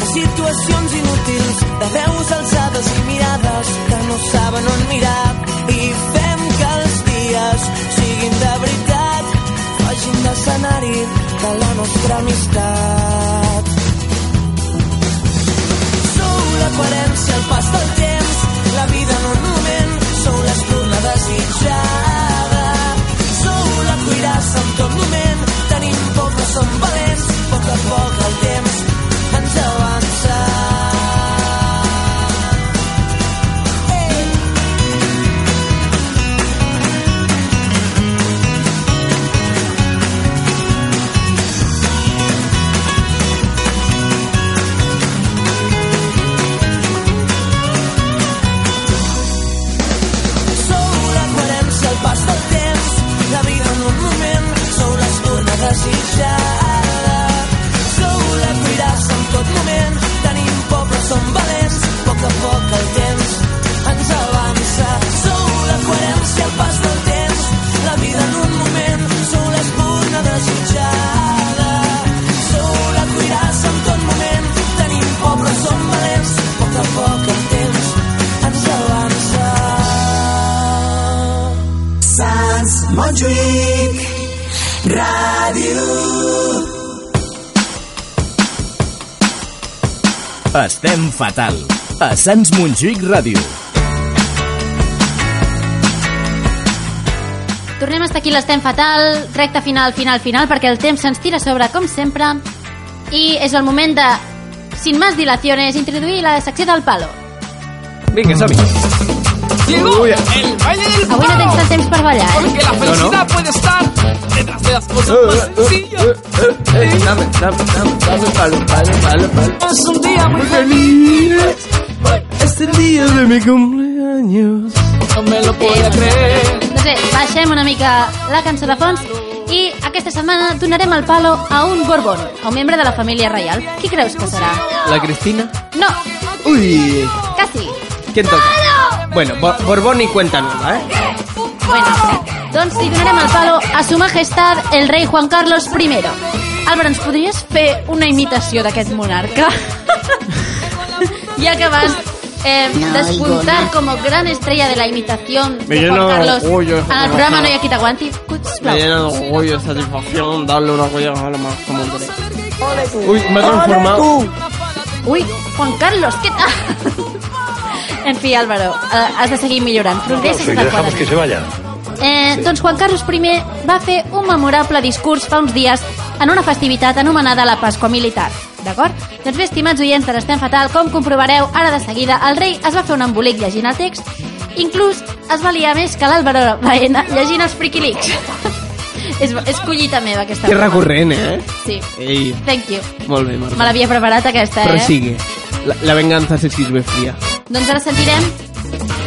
de situacions inútils, de veus alçades i mirades que no saben on mirar. I fem que els dies siguin de veritat, facin d'escenari de la nostra amistat. Sou la coherència al pas del temps, la vida en un moment, sou l'espurna desitjada. Sou la cuirassa en tot moment, tenim por però som valents, a poc a poc el temps ens avança. Ei! Sou la coherència al pas del temps, la vida en un moment, sou l'estona desitjada. Sou la cuirassa en tot moment, tenim por però som valents, a poc a poc el temps ens avança. Sou la coherència al pas del temps, la vida en un moment, sou l'espurna desitjada. Sou la cuirassa en tot moment, tenim por però som valents, a poc a poc el temps ens avança. Sans Montjuïc Ràdio. Estem fatal. A Sants Montjuïc Ràdio. Tornem a estar aquí l'estem fatal, recta final, final, final, perquè el temps se'ns tira a sobre, com sempre, i és el moment de, sin más dilaciones, introduir la secció del palo. Vinga, som-hi. Llegó el baile del palo. Avui no tens tant temps per ballar, eh? Porque la felicidad puede estar detrás de las cosas más sencillas. Dame, dame, dame, dame palo, palo, palo, palo. Es un día muy feliz. Es el día de mi cumpleaños. No me lo puedo creer. No sé, Doncs baixem una mica la cançó de fons i aquesta setmana donarem el palo a un Borbón, a un membre de la família reial. Qui creus que serà? La Cristina. No, Uy, casi. ¿quién toca? Bueno, Bo- Borbón y cuenta nueva, ¿eh? Bueno, doncs li donarem el palo a su majestat el rei Juan Carlos I. Álvaro, ens podries fer una imitació d'aquest monarca? ja que vas eh, No, despuntar Igona. como gran estrella de la imitación de Me Juan llena de Carlos orgullo esa en el programa No hi ha qui t'aguanti. Sisplau. Me llena de orgullo y satisfacción darle una joya a la más común. Uy, me Ole he transformado. Ui, Juan Carlos, què tal? en fi, Álvaro, eh, has de seguir millorant. Progresses Si le tal dejamos qual. que se vaya. Eh, doncs Juan Carlos I va fer un memorable discurs fa uns dies en una festivitat anomenada la Pasqua Militar. D'acord? Doncs bé, estimats oients de l'Estem Fatal, com comprovareu, ara de seguida el rei es va fer un embolic llegint el text, inclús es va liar més que l'Àlvaro Baena llegint els friquilics. és, és collita meva aquesta. Qué broma. recurrente, ¿eh? Sí. Ey, Thank you. vuelve, Marco. Me l'havia preparat aquesta, eh? Prosigue. La, la venganza se sirve fría. Doncs ara sentirem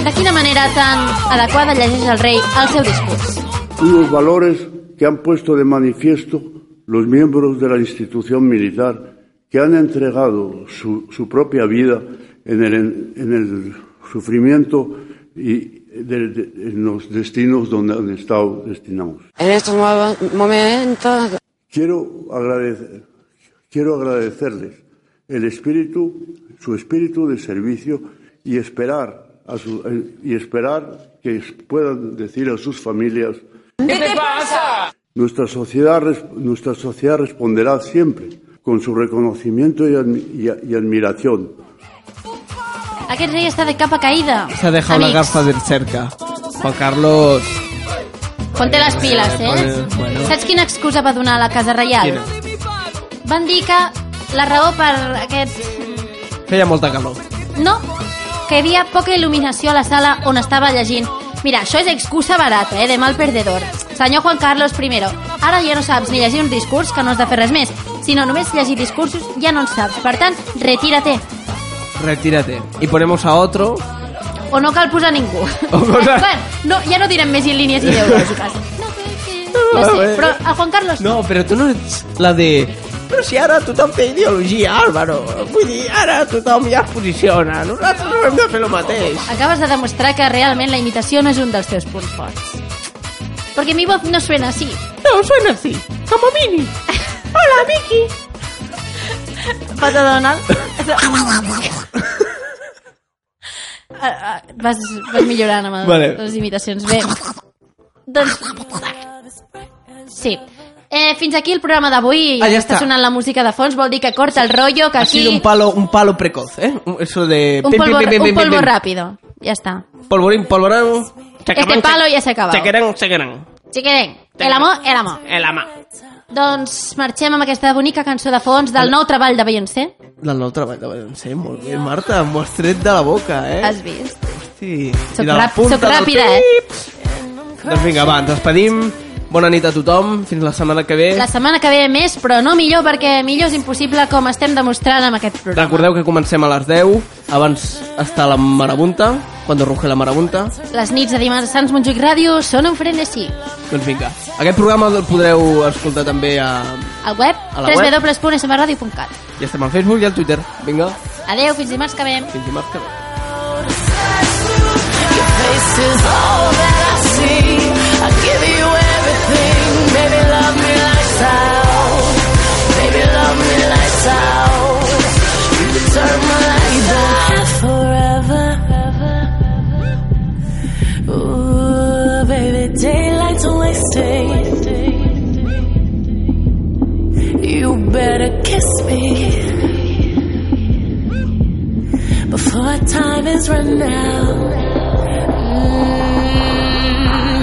de quina manera tan adequada llegeix el rei el seu discurs. unos valores que han puesto de manifiesto los miembros de la institución militar que han entregado su, su propia vida en el, en el sufrimiento y de- de- en los destinos donde han estado destinados. En estos mo- momentos Quiero agradecer, quiero agradecerles el espíritu, su espíritu de servicio y esperar a su- y esperar que puedan decir a sus familias ¿Qué te pasa? Nuestra sociedad, res- nuestra sociedad responderá siempre con su reconocimiento y, admi- y a- y admiración. Aquest rei està de capa caïda. Se ha dejado Amics, Garza de cerca. Juan Carlos. Ponte les piles, eh? Bueno, bueno. Saps quina excusa va donar la Casa Reial? Quina? Van dir que la raó per aquest... Feia molta calor. No, que hi havia poca il·luminació a la sala on estava llegint. Mira, això és excusa barata, eh, de mal perdedor. Senyor Juan Carlos I, ara ja no saps ni llegir un discurs que no has de fer res més, sinó només llegir discursos ja no en saps. Per tant, retira-te. Retírate. Y ponemos a otro. O no cal posar ningú. posar- Bueno, no, ja no direm més línies ideològiques. No, no sé, però a Juan Carlos... No, pero tú no eres la de... Pero si ara tothom té ideologia, Álvaro. Vull dir, ara tothom ja es posiciona. Nosaltres no hem de fer el mateix. Acabas de demostrar que realment la imitació no és un dels teus punts forts. Porque mi voz no suena así. No, suena así. Como Mini. Hola, Mickey. Pato Donald. Ah, ah, vas, vas millorant amb el- Vale. les imitacions. Bé, doncs... Sí. Eh, fins aquí el programa d'avui. Ah, ja està està. sonant la música de fons. Vol dir que corta el rollo, que Ha sido aquí... un palo, un palo precoz, ¿eh? Un- Eso de... un pim, polvo, pim, pim, un pim, polvo pim, pim. rápido. Ya está. Polvorín, polvorón. Este palo ya se acaba. Chequeran, chequeran. Chiquirín, el amor, el amor. El ama. Doncs marxem amb aquesta bonica cançó de fons del nou treball de Beyoncé. La no treball de Valencia, molt bé, Marta, m'ho has tret de la boca, eh? Has vist? Sí. Soc, I de la rap, punta soc del ràpida, pit. eh? Doncs vinga, va, ens despedim. Bona nit a tothom. Fins la setmana que ve. La setmana que ve més, però no millor, perquè millor és impossible com estem demostrant amb aquest programa. Recordeu que comencem a les 10. Abans està la marabunta, quan ruge la marabunta. Les nits de dimarts a Sants Montjuïc Ràdio són un frenesí. Doncs vinga. Aquest programa el podreu escoltar també a... Al web A la web. www.smradio.cat Ja estem al Facebook i al Twitter. Vinga, Adeu, fins dimarts que ve. fins dimarts que ve. This is all that I see. I give you everything. Baby, love me lights out. Baby, love me lights out. You can turn my light down forever. Ooh, baby, daylight's wasting. You better kiss me before time is run out. Mm, Oh, oh. oh.